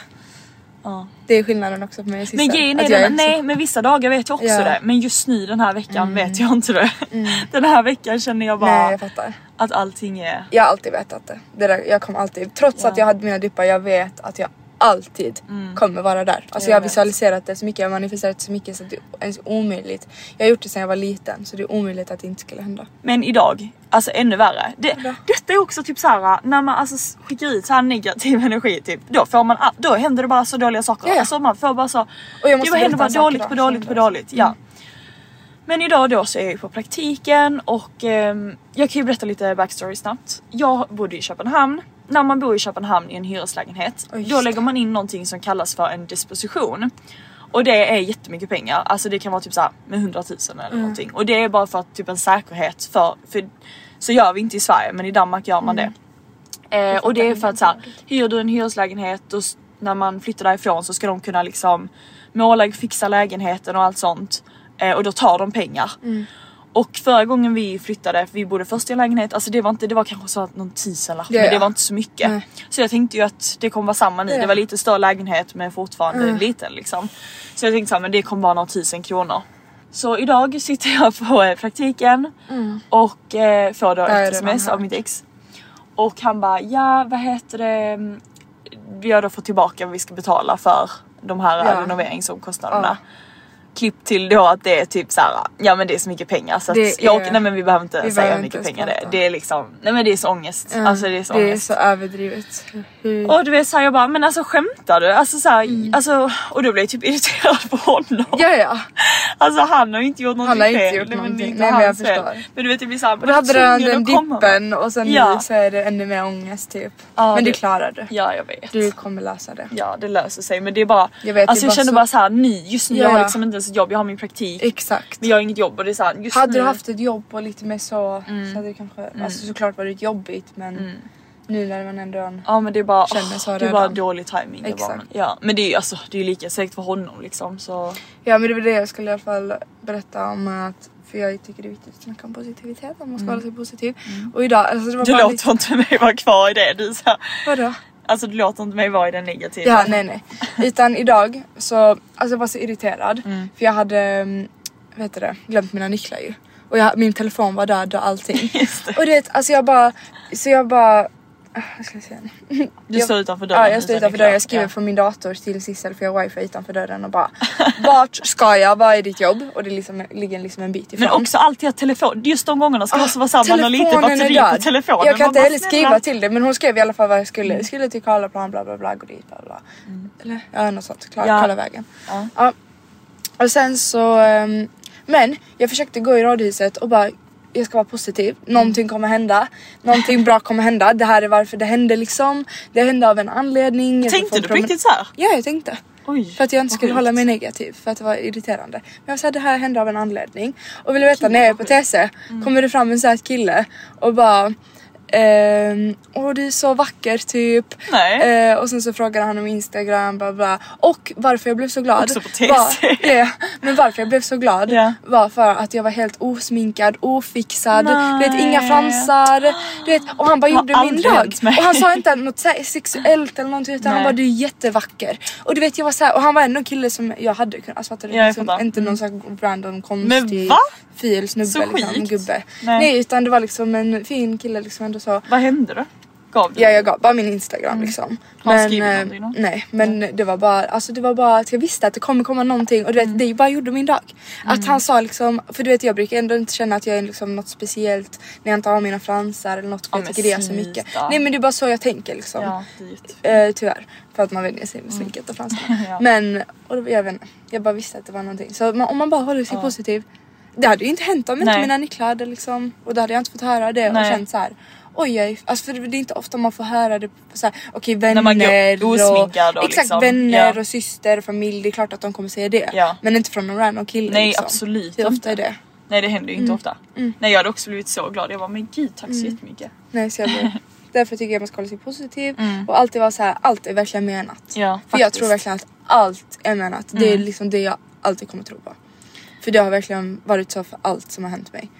Ja.
Det är skillnaden också på mig och
Men
systern.
grejen är
Att jag
den,
också-
nej men vissa dagar vet jag också
Ja. Mm.
det. Men just nu den här veckan vet jag inte det. [laughs] Den här veckan känner jag bara
Nej jag fattar.
att allting är...
Jag har alltid vetat det. det där, jag kommer alltid, trots att jag hade mina dippar, jag vet att jag alltid kommer vara där. Alltså
Mm. Jag
jag har
vet.
visualiserat det så mycket, jag har manifesterat så mycket så att det är ens omöjligt. Jag har gjort det sedan jag var liten så det är omöjligt att det inte skulle hända.
Men idag, alltså ännu värre. Det, detta är också typ såhär när man alltså skickar ut såhär negativ [laughs] energi typ. Då får man, all- då händer det bara så dåliga saker.
Ja, ja.
Alltså man får bara så...
Och jag måste
det
berätta
händer bara
en sak
dåligt
idag
på
som
dåligt på
hände.
dåligt. Ja. Men idag då så är jag ju på praktiken och ehm, jag kan ju berätta lite backstory snabbt. Jag bodde i Köpenhamn. När man bor i Köpenhamn i en hyreslägenhet
Oj, just
då
det.
lägger man in någonting som kallas för en disposition. Och det är jättemycket pengar, alltså det kan vara typ såhär med 100 000 eller
Mm.
någonting. Och det är bara för att typ en säkerhet för, för så gör vi inte i Sverige men i Danmark gör
Mm.
man det. Eh, och det är för att såhär, hyr du en hyreslägenhet och s- när man flyttar därifrån så ska de kunna liksom måla, fixa lägenheten och allt sånt. Eh, och då tar de pengar.
Mm.
Och förra gången vi flyttade, för vi bodde först i en lägenhet, alltså det var inte, det var kanske så att någon tusenlapp
Ja,
men det
ja.
var inte så mycket.
Nej.
Så jag tänkte ju att det kommer vara samma nu,
Ja. Mm.
det var lite större lägenhet men fortfarande liten liksom. Så jag tänkte såhär, men det kommer vara några tusen kronor. Så idag sitter jag på eh, praktiken
Mm.
och eh, får då
jag
ett
redan
sms
hört.
av mitt ex. Och han bara ja vad heter det, vi har då fått tillbaka vad vi ska betala för de här
Ja.
ja. renoveringsomkostnaderna. Klipp till då att det är typ såhär, ja men det är så mycket pengar så att
Det
jag,
är-
nej men vi behöver inte
vi
säga
behöver
hur mycket
inte ens
pengar det är.
prata.
Det är liksom, nej men det är så ångest.
Mm.
Alltså det är så
det är
ångest.
så överdrivet. Hur...
Och du vet såhär jag bara, men alltså skämtar du? Alltså, så här, alltså, och då blev jag typ [laughs] irriterad på honom.
Mm. Ja ja.
Alltså han har ju inte gjort någonting
har inte
fel.
gjort
Nej, men det
någonting.
är inte
Nej, men jag
hans fel.
förstår.
Men du vet det blir såhär,
Då hade den den
dippen.
dippen och sen
Ja.
nu så är det ännu mer ångest typ.
Ja,
men du
det-
klarar det.
Ja jag vet.
Du kommer lösa det.
Ja det löser sig men det är bara,
Jag vet, det är
alltså jag
bara
känner
så-
bara såhär ny, just nu
Ja,
jag har
ja.
liksom inte ens ett jobb, jag har min praktik.
Exakt.
Men jag har inget jobb och det är såhär just
Hade
nu. Mm.
du haft ett jobb och lite mer så, så hade det kanske, alltså såklart var det jobbigt men nu när man ändå är en...
Ja men det är bara,
Känner så
åh, det är
redan.
bara dålig timing. det var.
Exakt.
Ja, men det är ju alltså, det är ju lika säkert för honom liksom så.
Ja men det var det jag skulle i alla fall berätta om att för jag tycker det är viktigt att snacka om positivitet, om man ska hålla sig positiv. Och idag, alltså det var
Mm. Du
bara
låter
lite...
inte mig vara kvar i det. Du, är så här,
Vadå?
alltså du låter inte mig vara i den negativa.
Ja, nej nej. Utan idag så, alltså jag var så irriterad för jag hade, mm, vad heter det, glömt mina nycklar ju. Och jag, min telefon var död och allting.
[laughs] Just det.
Och du vet, alltså jag bara, så jag bara, ah, vad ska jag säga nu?
Du står utanför dörren.
Ja jag står
utan
utanför
nycklar.
dörren, jag skriver från min dator till Sissel för jag har wifi utanför dörren och
[laughs]
bara vart ska jag, vad är ditt jobb? Och det liksom, ligger liksom en bit ifrån.
Men också alltid att telefon, just de gångerna ska det också vara såhär Alltså, man har lite
Ah, Telefonen är
batteri på
död.
telefonen.
Jag kan
Man
inte
bara,
heller
snälla.
skriva till dig men hon skrev i alla fall vad jag skulle. Jag skulle till Karlaplan bla bla bla, gå dit bla bla. Eller ja något sånt, Klar,
Mm. Ja.
kolla vägen. Ja. Och sen så, ehm, men jag försökte gå i radhuset och bara jag ska vara positiv, någonting kommer hända, någonting bra kommer hända, det här är varför det hände liksom, det hände av en anledning. jag ska få
Tänkte
en
du på
promen-
riktigt såhär?
Ja jag tänkte.
Oj,
För att jag inte
vad
skulle
sjukt.
hålla mig negativ för att det var irriterande. Men jag sa det här hände av en anledning. Och vill du veta när jag är på TC
Mm.
kommer det fram en söt kille och bara ehm, Åh du är så vacker typ.
Nej.
Eh, och sen så frågade han om instagram bla bla. Och varför jag blev så glad.
Också på TC.
Var, [laughs] Ja, men varför jag blev så glad
Ja.
var för att jag var helt osminkad, ofixad. Du vet
Nej.
inga fransar. Du vet, och han bara
har
gjorde min
aldrig
dag.
hänt mig.
Och han sa inte något så här sexuellt eller någonting utan han
Nej.
bara du är jättevacker. Och du vet jag var så här, och han var ändå en kille som jag hade kunnat, alltså fattar du?
Ja, jag
liksom,
fattar.
inte någon sån här random konstig
va?
fil snubbe
Så
liksom,
sjukt.
gubbe. Nej.
Nej.
utan det var liksom en fin kille liksom ändå så.
Vad hände då? Gav du?
Ja jag gav bara min instagram liksom.
Mm. Har han skrivit
eh,
någonting då?
Nej men det var bara, alltså det var bara att jag visste att det kommer komma någonting och du vet
Mm.
det bara gjorde min dag. Att han sa liksom, för du vet jag brukar ändå inte känna att jag är liksom något speciellt när jag inte har mina fransar eller något för
Ja,
jag
men
tycker det är så
sluta.
mycket. Nej men det är bara så jag tänker liksom.
Ja, det är jättefint.
Eh, tyvärr. För att man vänjer sig med
Mm.
sminket och fransarna.
[laughs] Ja.
Men och då, jag vet inte. Jag bara visste att det var någonting. Så man, om man bara håller sig positiv. Det hade ju inte hänt om inte
Nej.
mina nycklar hade liksom. Och då hade jag inte fått höra det och
Nej.
känt så här. Oj, oj. Alltså för det är inte ofta man får höra det på så här, okej
När man går
vänner
osminkad
och,
och
Exakt,
liksom,
vänner
ja.
och syster och familj. Det är klart att de kommer säga det.
Ja.
Men inte från någon random kille
Nej,
liksom.
absolut
Hur ofta
inte.
är det? Mm.
Nej det händer ju inte ofta. Nej jag hade också blivit så glad. Jag var men gud tack så jättemycket.
Nej så jag blir.
[laughs]
Därför tycker jag man ska hålla sig positiv
Mm.
och alltid vara så här, allt är verkligen menat.
Ja,
För jag
faktiskt. Mm.
tror verkligen att allt är menat. Det är liksom det jag alltid kommer tro på. För det har verkligen varit så för allt som har hänt mig.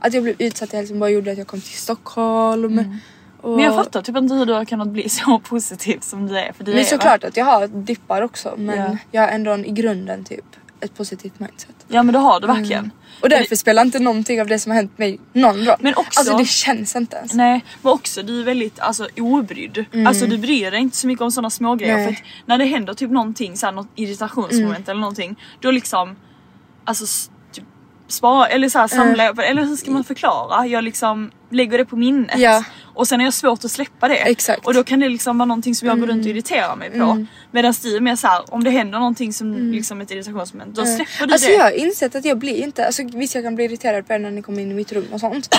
Att jag blev utsatt i Helsingborg gjorde att jag kom till Stockholm. Och...
Mm. Men jag fattar typ inte hur du har kunnat bli [laughs] så positiv som du är. För du är
Men
va?
såklart att jag har dippar också men
Ja.
jag har ändå en, i grunden typ ett positivt mindset.
Ja men det har du verkligen.
Och därför spelar inte någonting av det som har hänt mig någon roll.
Men också-
Alltså det känns inte ens.
Nej men också du är väldigt alltså, obrydd. Alltså du bryr dig inte så mycket om sådana smågrejer.
Mm. Nej. Mm.
För att när det händer typ någonting, såhär, något irritationsmoment eller någonting. Då liksom alltså s- typ, spara eller såhär, samla
Mm.
jag på det. Eller hur ska man förklara? Jag liksom lägger det på minnet.
Ja.
Och sen är jag svårt att släppa det.
Exakt. Mm.
Och då kan det liksom vara någonting som jag går runt och irriterar mig på. Medan du är mer såhär om det händer någonting som liksom ett irritationsmoment då släpper du
Mm. Alltså
det.
jag har insett att jag blir inte, alltså visst jag kan bli irriterad på er när ni kommer in i mitt rum och
[laughs]
sånt.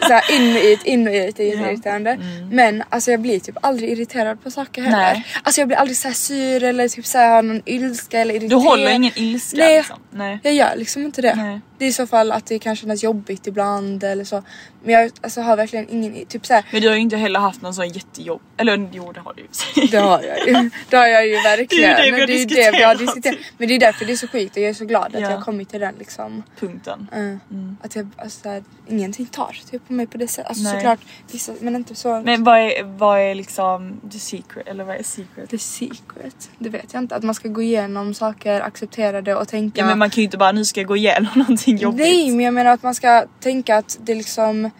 Såhär in och ut, in och ut, det är jätteirriterande. Men alltså jag blir typ aldrig irriterad på saker heller.
Mm. Nej.
Alltså jag blir aldrig såhär sur eller typ såhär har någon ilska eller
Du
irriterad.
håller ingen ilska
Nej.
liksom. Nej.
Jag gör liksom inte det.
Nej.
Det är i så fall att det kan kännas jobbigt ibland eller så. Men jag alltså, har verkligen ingen, typ
[laughs]
såhär,
Men du har ju inte heller haft någon sån jättejobb. Eller jo det har du ju
det har jag ju. Det har jag ju verkligen.
Det är ju det vi har
ju
diskuterat.
Men det är därför det är så sjukt och jag är så glad att
Ja.
jag har kommit till den liksom.
Punkten.
Mm. Att jag, alltså, så här, ingen ingenting tar typ, på mig på det sättet. Alltså
Nej.
såklart vissa, men inte så.
Men vad är, vad är liksom the secret? Eller vad är secret?
The secret, det vet jag inte. Att man ska gå igenom saker, acceptera det och tänka.
Ja, men man kan ju inte bara nu ska jag gå igenom någonting jobbigt.
Nej men jag menar att man ska tänka att det liksom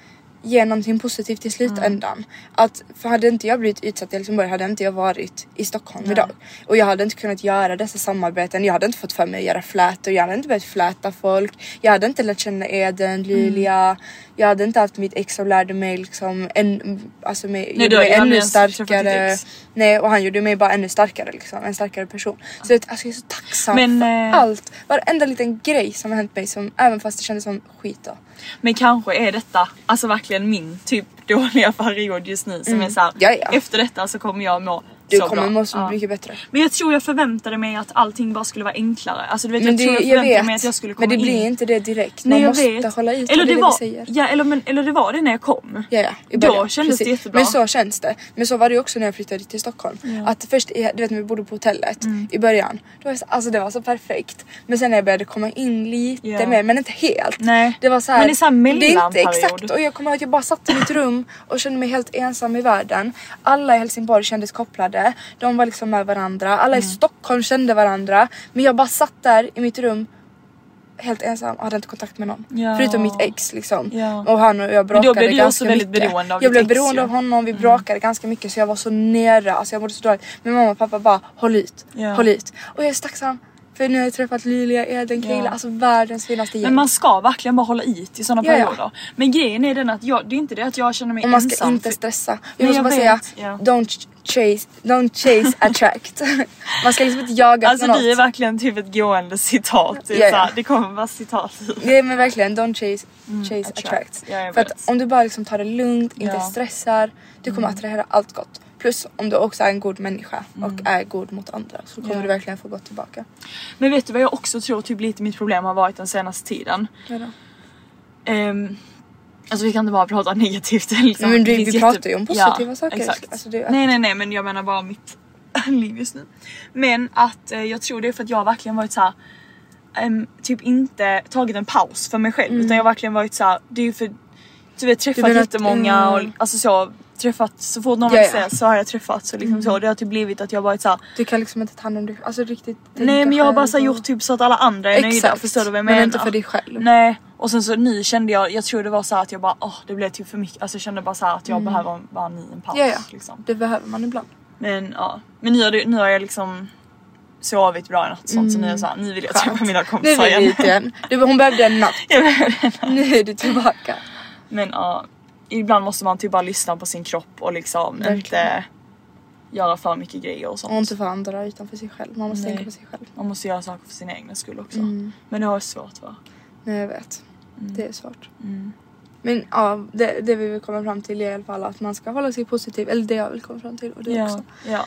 ger någonting positivt i slutändan. Att, för hade inte jag blivit utsatt i Helsingborg hade inte jag varit i Stockholm idag. Och jag hade inte kunnat göra dessa samarbeten. Jag hade inte fått för mig att göra flätor. Jag hade inte börjat fläta folk. Jag hade inte lärt känna
Mm.
Eden, Lilia. Jag hade inte haft mitt ex som lärde mig liksom en, alltså med,
Nej,
gjorde
du har
mig
ju aldrig
ännu
ens träffat ditt
starkare.
ex.
Nej och han gjorde mig bara ännu starkare liksom. En starkare person. Så jag, alltså, jag är så tacksam
Men,
för
eh,
allt allt, varenda liten grej som har hänt mig som även fast det kändes som skit då.
Men kanske är detta alltså verkligen min typ dåliga period just nu som är såhär,
Mm. Ja, ja.
efter detta så kommer jag må
Du
så
kommer
bra.
må så
Ja.
mycket bättre.
Men jag tror jag förväntade mig att allting bara skulle vara enklare. Alltså du vet,
Men
jag
det,
tror jag
jag
förväntade
vet.
mig att jag skulle komma
men det
in.
blir inte det direkt. Man
Nej, jag
måste
vet.
hålla i sig.
Eller
det, är det
det var,
vi säger.
ja, eller, men, eller det var det när jag kom.
Ja, ja, i
Då
början.
kändes det jättebra.
Men så känns det. Men så var det ju också när jag flyttade till Stockholm. Att först, i- du vet när vi bodde på hotellet
Mm.
i början. Då var det, så, alltså det var så perfekt. Men sen när jag började komma in lite
Ja.
mer, men inte helt.
Nej.
Det var så här,
Men det är så här
inte
mellanperiod.
exakt. Och jag kommer ihåg att jag bara satt i mitt rum och kände mig helt ensam i världen. Alla i Helsingborg kändes kopplade. De var liksom med varandra. Alla
Mm.
i Stockholm kände varandra. Men jag bara satt där i mitt rum helt ensam och hade inte kontakt med någon.
Ja.
Förutom mitt ex liksom.
Ja.
Och han och jag
Men då blev
bråkade
du
ganska
också väldigt
mycket.
beroende av
Jag
ditt
blev
ex, Mm.
beroende
ju.
av honom, vi bråkade ganska mycket så jag var så nära, alltså jag mådde så dåligt. Men mamma och pappa bara håll ut,
Ja.
håll ut. Och jag är så tacksam för nu har jag träffat Lilia, Eden, Krilla,
Ja.
alltså världens finaste gäng.
Men man ska verkligen bara hålla i i sådana
Ja, ja.
perioder. Men grejen är den att jag, det är inte det att jag känner mig
och man ska
ensam.
inte
för-
stressa. Jag
Nej,
måste
jag
bara
vet,
säga,
ja.
don't ch- chase, don't
[laughs]
chase attract. man ska liksom inte jaga
Alltså
efter
du är
något.
verkligen typ ett gående citat. Det, är
Ja, ja.
så här, det kommer
[laughs]
bara citat ur.
Nej men verkligen, don't chase, chase attract.
Mm, attract. Ja, jag
För att
vet.
om du bara liksom tar det lugnt, inte
Ja. Mm.
stressar, du kommer attrahera allt gott. Plus om du också är en god människa och är god mot andra så kommer
Mm. Ja.
du verkligen få gott tillbaka.
Men vet du vad jag också tror typ lite mitt problem har varit den senaste tiden?
Vadå?
Ehm, alltså vi kan inte bara prata negativt. Liksom.
Men vi-
Det finns
vi pratar ju om positiva saker.
Exakt.
Alltså, det är-
Nej nej nej men jag menar bara mitt [laughs] liv just nu. Men att eh, jag tror det är för att jag har verkligen varit så här. ehm, typ inte tagit en paus för mig själv utan jag har verkligen varit så här. det är ju för du vet
Mm. Du
träffat
menar att-
jättemånga och
mm.
alltså så träffat så fort någon
Ja, ja.
vill
Mm.
säga så har jag träffat så liksom så det har typ blivit att jag har varit så här.
Du kan liksom inte ta hand om dig Alltså riktigt
Nej
tänka
men jag har bara
själv
så här
och-
gjort typ så att alla andra är nöjda,
Exakt,
förstår du vad jag
men
menar?
inte för dig själv.
Nej, och sen så nu kände jag, jag tror det var så här att jag bara åh det blev typ för mycket, alltså jag kände bara så här att jag behöver en- bara nu en paus
Mm. Ja, ja.
liksom.
Det behöver man
[laughs]
ibland.
Men ja, men nu har, det, nu har jag liksom sovit bra i natt och sånt så nu är jag så här, nu vill jag träffa Typ mina
Mm, Nu
kompisar
är vi
igen.
dit igen. Du, hon behövde en natt.
[laughs] Jag behöver det.
Nu är du tillbaka.
men ja, ibland måste man typ bara lyssna på sin kropp och liksom
Verkligen.
inte göra för mycket grejer och sånt.
Och inte för andra utan för sig själv. Man måste
Nej.
tänka på sig själv.
Man måste göra saker för sin egna skull också.
Mm.
Men det har jag svårt va?
Nej jag vet.
Mm.
Det är svårt. Men ja, det, det vi vill komma fram till är i alla fall att man ska hålla sig positiv. Eller det jag vill komma fram till och det typ också.
ja.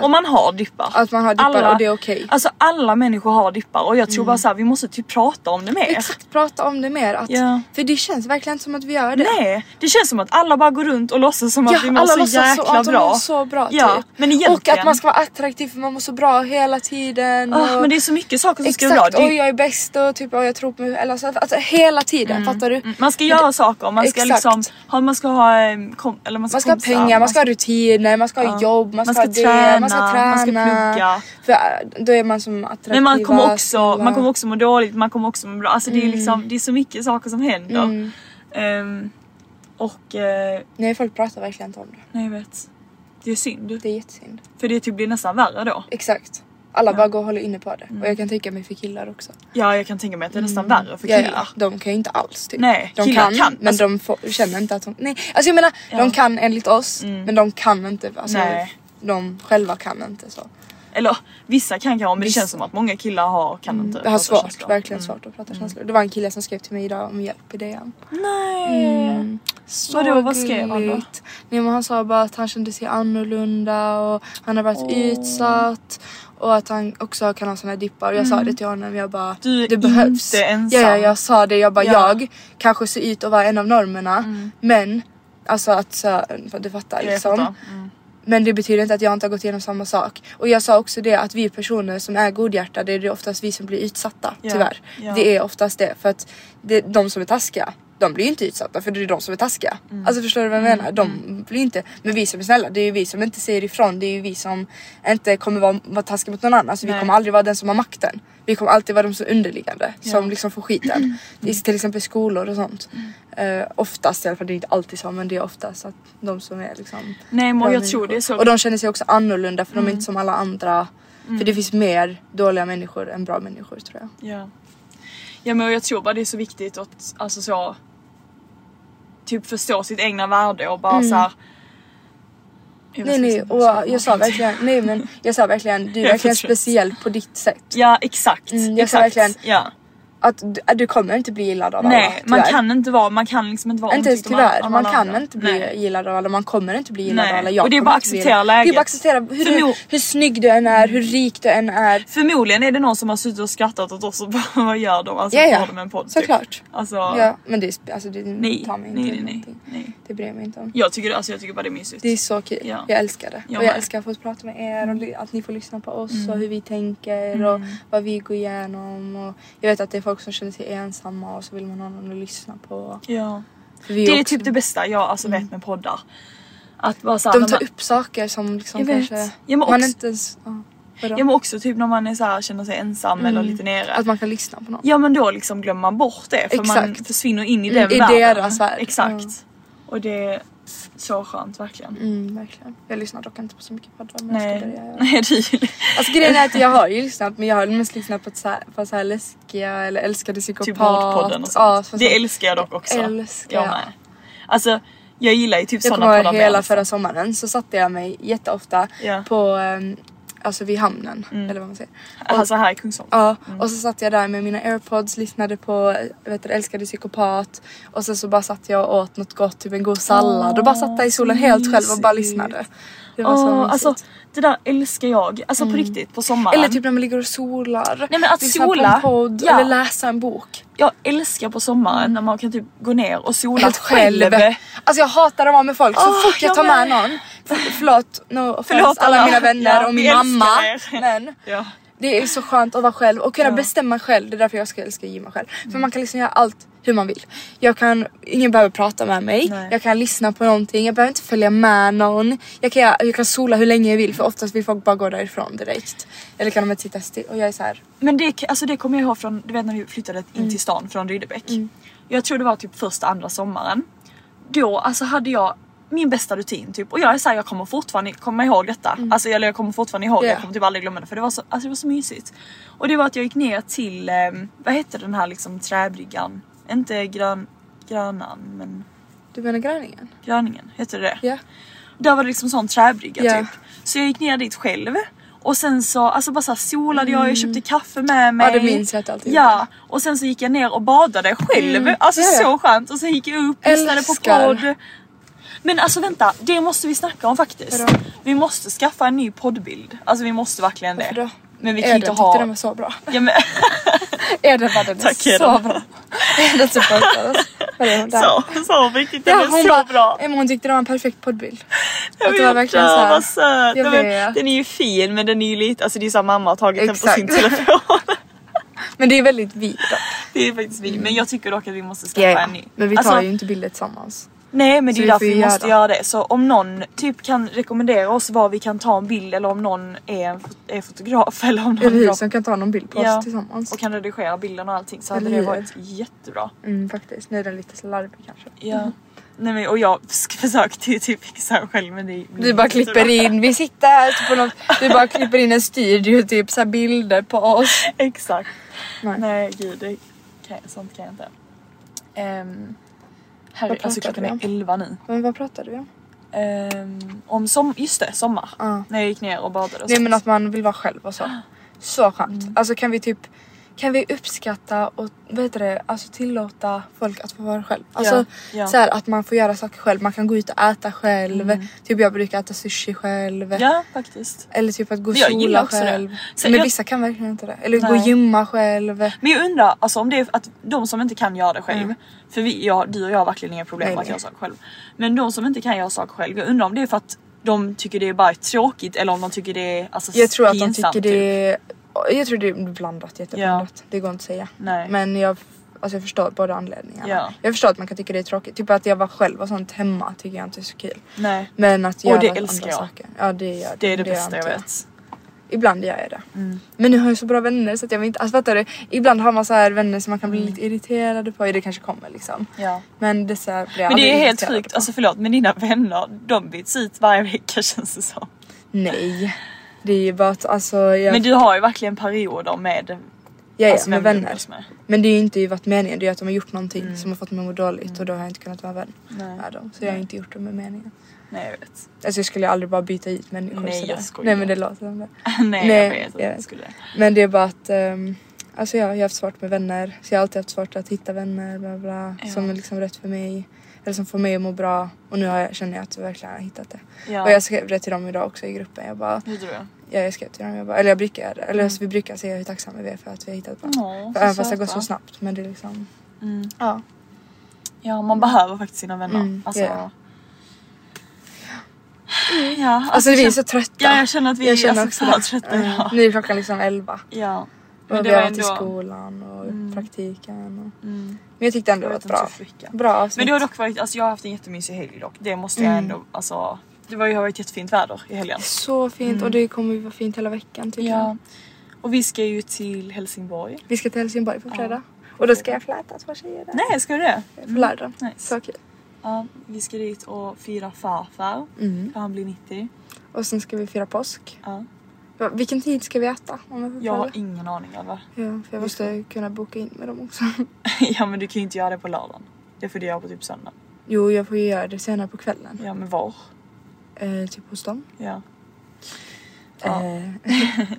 Och man har dippar.
Att man har dippar och det är okej.
Alltså alla människor har dippar och jag tror bara så här, vi måste typ prata om det mer.
Mm. Exakt, prata om det mer. Att,
Ja.
För det känns verkligen inte som att vi gör det.
Nej, det känns som att alla bara går runt och låtsas som
Ja,
att vi mår
alla
så
låtsas
jäkla
så, att de
bra.
mår så bra
ja,
typ.
men
Och
egentligen.
att man ska vara attraktiv för man mår så bra hela tiden.
Ah,
och...
men det är så mycket saker som ska vara
Exakt,
bra. Det är-
och jag är bäst och typ och jag tror på mig eller så, alltså hela tiden
Mm,
fattar du?
Man ska göra saker, man ska
Exakt.
liksom ha, man ska ha, em, kom, eller man ska
Man ska ha
kompisar,
pengar, man ska ha rutiner, man ska ha
Ja.
jobb, man ska,
Man ska
ha det, man ska
träna,
träna.
man ska plugga.
För äh, då är man som attraktiv.
Men man kommer, också, man kommer också må dåligt, man kommer också må bra. Alltså
Mm.
det, är liksom, det är så mycket saker som händer. Em, och eh,
Nej folk pratar verkligen inte om det.
nej jag vet. Det är synd.
Det är jättesynd.
För det typ blir nästan värre då.
Exakt. Alla bara går och håller inne på det. Och jag kan tänka mig för killar också.
Ja jag kan tänka mig att det är nästan värre för
Mm. Ja,
killar.
ja, de kan ju inte alls typ.
Nej,
de
killar
kan,
kan,
men
alltså-
de får, känner inte att de... Nej, alltså jag menar de kan enligt oss men de kan inte. Alltså,
Mm. Nej.
De själva kan inte så.
Eller vissa kan kanske men det
Vissa.
känns som att många killar har, kan inte.
Jag Mm. har
prata
svårt,
känslor. Mm.
verkligen svårt att prata känslor. Det var en kille som skrev till mig idag om hjälp i DM.
Nej.
Mm. Så
Vadå, vad skrev han då?
gulligt. Nej, men han sa bara att han kände sig annorlunda och han har varit utsatt. Och att han också kan ha såna här dippar. Och jag sa det till honom. Jag bara,
Mm. Du är
det behövs.
inte ensam.
Ja, ja, jag sa det. Jag bara,
Ja. Mm.
jag kanske ser ut att vara en av normerna. Men, alltså att så, du fattar
Jag
liksom.
fattar. Mm.
Men det betyder inte att jag inte har gått igenom samma sak. Och jag sa också det att vi personer som är godhjärtade, det är oftast vi som blir utsatta
Ja,
tyvärr.
ja.
Det är oftast det för att det är de som är taskiga. de blir ju inte utsatta för det är de som är taskiga.
Mm.
Alltså förstår du vad jag menar? De blir ju inte, men vi som är snälla, det är ju vi som inte säger ifrån, det är ju vi som inte kommer vara, vara taskiga mot någon annan. Så vi
Nej.
kommer aldrig vara den som har makten. Vi kommer alltid vara de som är underliggande, som liksom får
[clears throat]
skiten. Det är till exempel skolor och sånt.
Mm.
Eh, oftast i alla fall, det är inte alltid så men det är oftast att de som är liksom
Nej, men
bra
jag tror
människor.
det är så. Mm.
Och de känner sig också annorlunda för de är inte som alla andra. För det finns mer dåliga människor än bra människor tror jag.
Ja. ja men jag tror bara det är så viktigt att alltså så typ förstå sitt egna värde och bara så här. Jag vet
Mm. Nej
inte
nej
vad
och
ska säga.
jag sa verkligen, nej men jag sa verkligen du är
[laughs] Jag
verkligen
förstår.
speciell på ditt sätt.
Ja exakt.
Mm, jag sa
exakt.
verkligen-
Ja.
Att du, att du kommer inte bli gillad av alla.
Nej man
tyvärr.
kan inte vara, man kan liksom inte vara
Inte ens
omtyckt av alla-
tyvärr,
av
man
alla
kan
andra.
inte bli
Nej.
gillad av alla, man kommer inte bli gillad
Nej,
av alla. Jag
och det är
kommer
bara
inte bli
acceptera
gillad. Det är
läget.
bara acceptera hur,
För
du,
nu- Typ.
hur snygg du än är, hur rik du än är.
Förmodligen är det någon som har suttit och skrattat åt oss och bara [laughs] vad gör de? Alltså
Ja, ja.
har de en podd? typ?
Såklart.
Alltså,
Ja, men det, är sp- alltså, det
nej,
tar mig inte
nej, nej,
någonting.
nej.
Det bryr jag mig inte om.
Jag tycker, alltså, jag tycker bara det är mysigt.
Det är så kul.
Ja.
Jag älskar det.
Jag
och jag
med. Mm.
älskar att få prata med er och li- att ni får lyssna på oss och hur vi tänker och vad vi går igenom. Och jag vet att det är folk som känner sig ensamma och så vill man ha någon att lyssna på.
ja.
För vi
det är
också- Mm.
typ det bästa jag alltså, vet med poddar. Att bara så här,
De
när
tar
man-
upp saker som liksom
Jag vet.
kanske...
Ja, men
man
också-
inte ens... Ja, vadå?
Ja men också typ när man är så här, känner sig ensam eller lite nere.
Mm. Att man kan lyssna på någon.
Ja men då liksom glömmer man bort det för man
Exakt.
försvinner in i den
Mm, i
världen.
deras värld.
Exakt.
Mm.
Och det är så skönt verkligen.
Mm, verkligen. Jag lyssnar dock inte på så mycket poddar men jag ska
Nej.
börja göra det.
[laughs] Nej det typ
Alltså grejen är att jag har ju lyssnat men jag har mest lyssnat på, ett så här, på så här läskiga eller älskade
är
psykopat.
typ Vårdpodden och
Ja,
sånt.
sånt.
det älskar jag dock också.
älskar
jag.
jag.
med. Alltså jag gillar ju typ
Jag
sådana
kommer
poddar
ihåg
med,
hela
alltså.
förra sommaren så satte jag mig jätteofta
Ja. Mm.
på ehm, Alltså vid hamnen eller vad man säger.
Alltså här i Kungsholmen.
Ja, och så satt jag där med mina airpods, lyssnade på eh, vet du, Älskade psykopat och sen så bara satt jag och åt något gott, typ en god sallad och bara satt där i solen helt själv och bara
mysigt.
lyssnade. Det var så
Åh,
mysigt.
alltså det där älskar jag. Alltså på riktigt på sommaren.
Eller typ när man ligger och solar.
Nej, men att
lyssna
sola,
på en podd
ja.
eller läsa en bok.
Jag älskar på sommaren när man kan typ gå ner och sola
Mm. Helt själv. Alltså jag hatar att vara med folk. Så
Åh,
fort jag
jag
tar med
med.
någon. För, förlåt, no, förlåt
Förlåt
alla,
alla.
mina vänner
Ja,
och min
vi älskar
mamma.
er.
Men
Ja.
det är så skönt att vara själv och kunna bestämma själv. Det är därför jag ska älska att gymma själv. För man kan liksom göra allt hur man vill. Jag kan, ingen behöver prata med mig.
Nej.
Jag kan lyssna på någonting. Jag behöver inte följa med någon. Jag kan, jag kan sola hur länge jag vill för oftast vill folk bara gå därifrån direkt. Eller kan de inte sitta still. Och jag är så här.
Men det, alltså det kommer jag ihåg från, du vet när vi flyttade
Mm.
in till stan från Rydebäck. Jag tror det var typ första, andra sommaren. Då alltså hade jag min bästa rutin typ och jag är såhär jag kommer fortfarande komma ihåg detta. Alltså eller jag kommer fortfarande ihåg det,
Mm. Ja.
jag kommer typ aldrig glömma det för det var så, alltså det var så mysigt. Och det var att jag gick ner till, ehm, vad hette den här liksom träbryggan? Inte grön, Grönan men
Du menar gröningen?
Gröningen, heter det
Ja.
Där var det liksom sån träbrygga
Ja.
typ. Så jag gick ner dit själv och sen så alltså bara så här solade jag, jag köpte kaffe med mig.
det Mm. minns jag att alltid
Ja, och sen så gick jag ner och badade själv. Alltså
Mm. Ja, ja.
så skönt. Och sen gick jag upp, lyssnade på
Älskar.
podd. Men alltså vänta, det måste vi snacka om faktiskt.
Vadå?
Vi måste skaffa en ny poddbild. Alltså vi måste verkligen det.
Varför då?
Men vi kan
Eden
ju inte
tyckte
ha...
den var så
[laughs]
bra.
Ja, men...
Eden bara den är
Tack,
så [laughs]
Eden.
bra. Eden supportade oss. Vad är hon där?
så, så viktigt, den
Ja,
är så
bara,
bra.
Emma, hon tyckte det var en perfekt poddbild.
Jag
Att det var
vet,
verkligen
ja,
så här-
vad söt.
Jag
Nej, men,
vet.
den är ju fin men den är ju lite, alltså det är ju såhär mamma har tagit den på sin
Exakt.
telefon.
[laughs] Men det är väldigt vi då.
det är faktiskt vi. Men jag tycker dock att vi måste skaffa
Ja, ja.
en ny.
Men vi tar
Alltså,
ju inte bilder tillsammans.
Nej men det
så
är
vi
ju
får ju
därför vi
göra
måste
det.
göra det. Så om någon typ kan rekommendera oss var vi kan ta en bild eller om någon är, en fot- är fotograf [laughs] eller om någon
Eller hur?
drar-
Som kan ta någon bild på oss tillsammans.
och kan redigera bilden och allting så hade
Eller
det
hur?
varit jättebra.
Mm, faktiskt. Nu är den lite så larvig kanske.
Ja. Nej, men, och jag [laughs] sk- försökte ju typ fixa den själv men det blir
Du bara
inte så
klipper
bra.
in, vi sitter här typ på något, du bara klipper in en studio typ så här bilder på oss.
[laughs] Exakt.
Nej.
Nej, gud, det kan, jag- sånt kan jag inte. Um,
Vad
här,
pratar
alltså klockan
vi om?
är 11 nu.
Men Ehm, vad pratar du om?
Ehm, om som, just det, sommar.
Ja.
När jag gick ner och badade och
Nej
sånt.
men alltså, att man vill vara själv och så. Så skönt. Alltså kan vi typ kan vi uppskatta och vad heter det, alltså tillåta folk att få vara själv. Alltså
ja.
så här att man får göra saker själv, man kan gå ut och äta själv. Typ jag brukar äta sushi själv.
Ja, faktiskt.
Eller typ att gå och
Jag gillar
sola
också det.
själv.
Så
men
jag-
vissa kan verkligen inte det. Eller gå och
Nej.
gymma själv.
Men jag undrar alltså, om det är att de som inte kan göra det själv. För vi, jag, du och jag har verkligen inga problem
Mm. Nej,
med att
nej.
göra saker själv. Men de som inte kan göra saker själv, jag undrar om det är för att de tycker det är bara tråkigt eller om de tycker det är alltså,
Jag tror att de
pinsamt,
tycker
typ.
det är... Jag tror det är blandat, jätteblandat. Det går inte att säga.
Nej.
Men jag... Alltså jag förstår båda anledningarna.
Ja.
Jag förstår att man kan tycka det är tråkigt. Typ att jag var själv och sånt hemma tycker jag inte är så kul.
Nej.
Men att
Och
göra
det
andra
älskar jag.
saker. Ja det gör jag.
Det är det,
gör
bästa jag
inte
vet. Mm.
Ibland gör jag det. Men nu har jag så bra vänner så att jag vill inte, alltså fattar du? Ibland har man så här vänner som man kan bli
Mm.
lite irriterade på, Ja, det kanske kommer liksom.
Ja.
Men dessa blir jag
Men det är
aldrig
helt
irriterad
sjukt,
på.
alltså förlåt men dina vänner de byts ut varje vecka [laughs] känns det som.
Nej. Det är ju bara att alltså jag,
Men du har ju verkligen perioder med,
jag är
alltså, Mm.
med
vem du
vänner.
umgås med.
Men det är ju inte ju varit meningen, det är ju att de har gjort någonting som har fått mig att må dåligt
Mm.
och då har jag inte kunnat vara vän med dem. Så jag har inte gjort det med meningen.
nej jag vet. [laughs]
Alltså jag skulle aldrig bara byta ut människor
Nej,
sådär.
jag skojar.
Nej men det låter som det.
nej, jag vet att du skulle.
Men det är bara att ehm, Alltså jag, jag har haft svårt med vänner, så jag har alltid haft svårt att hitta vänner bla bla, som är liksom rätt för mig. Eller som får mig att må bra och nu har jag, känner jag att jag verkligen har hittat det.
Ja.
Och jag skrev det till dem idag också i gruppen. Jag bara,
Hur du?
Ja, jag skrev till dem. Jag bara, eller jag brukar göra det. Eller så vi brukar säga hur tacksamma vi är för att vi har hittat varandra.
Åh,
för
Mm. så Mm.
även fast det går
söta.
så snabbt. Men det är liksom... Ja.
Ja man behöver faktiskt sina vänner.
Mm,
alltså,
ja.
ja. Ja,
Alltså
jag
vi är
känner-
så trötta.
Ja jag känner att vi
Jag
är
känner
alltså,
också
så
det.
trötta
Mm.
idag.
Nu är klockan liksom 11.
Ja.
Och
Men
vi
det
har
var
varit i
ändå... Mm.
skolan och praktiken. Och... Men jag tyckte ändå
Jag
det var ett
vet inte
bra,
hur flicka.
bra avsnitt.
Men det har dock varit, alltså jag har haft en jättemysig helg dock. Det måste jag
Mm.
ändå, alltså. Det var ju har varit jättefint väder i helgen.
Så fint och det kommer ju vara fint hela veckan tycker jag.
Mm. Ja. Och vi ska ju till Helsingborg.
Vi ska till Helsingborg på fredag. Och då ska jag fläta två tjejer där.
Nej, ska du det?
På lördag.
nice.
Så kul.
Ja, vi ska dit och fira farfar. För han blir 90.
Och sen ska vi fira påsk.
Mm. Ja.
Va- Vilken tid ska vi äta? Om jag får
Jag
fråga?
har ingen aning över.
Ja, för jag måste kunna boka in med dem också. [laughs]
[laughs] ja men du kan ju inte göra det på lördagen. Det får du göra på typ söndag.
Jo, jag får ju göra det senare på kvällen.
Ja men var?
Eh, typ hos dem.
Ja.
Eh, [laughs]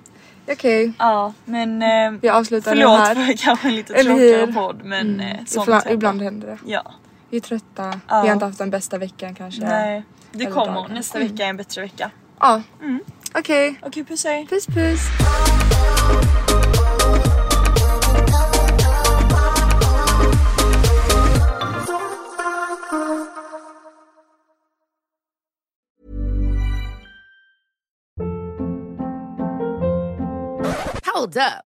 Okej,
Ja men... Eh,
vi avslutar
förlåt
den
för
här.
det kanske är en lite
Eller
tråkigare
hur?
podd men eh, sånt
Ibland,
händer.
ibland händer det.
Ja.
Vi är trötta,
Ja.
vi har inte haft den bästa veckan kanske.
Nej. Mm. Det
Eller
kommer.
dagen.
Nästa vecka är en bättre vecka.
Ja. Okej,
Okej puss hej.
puss puss.
Hold up.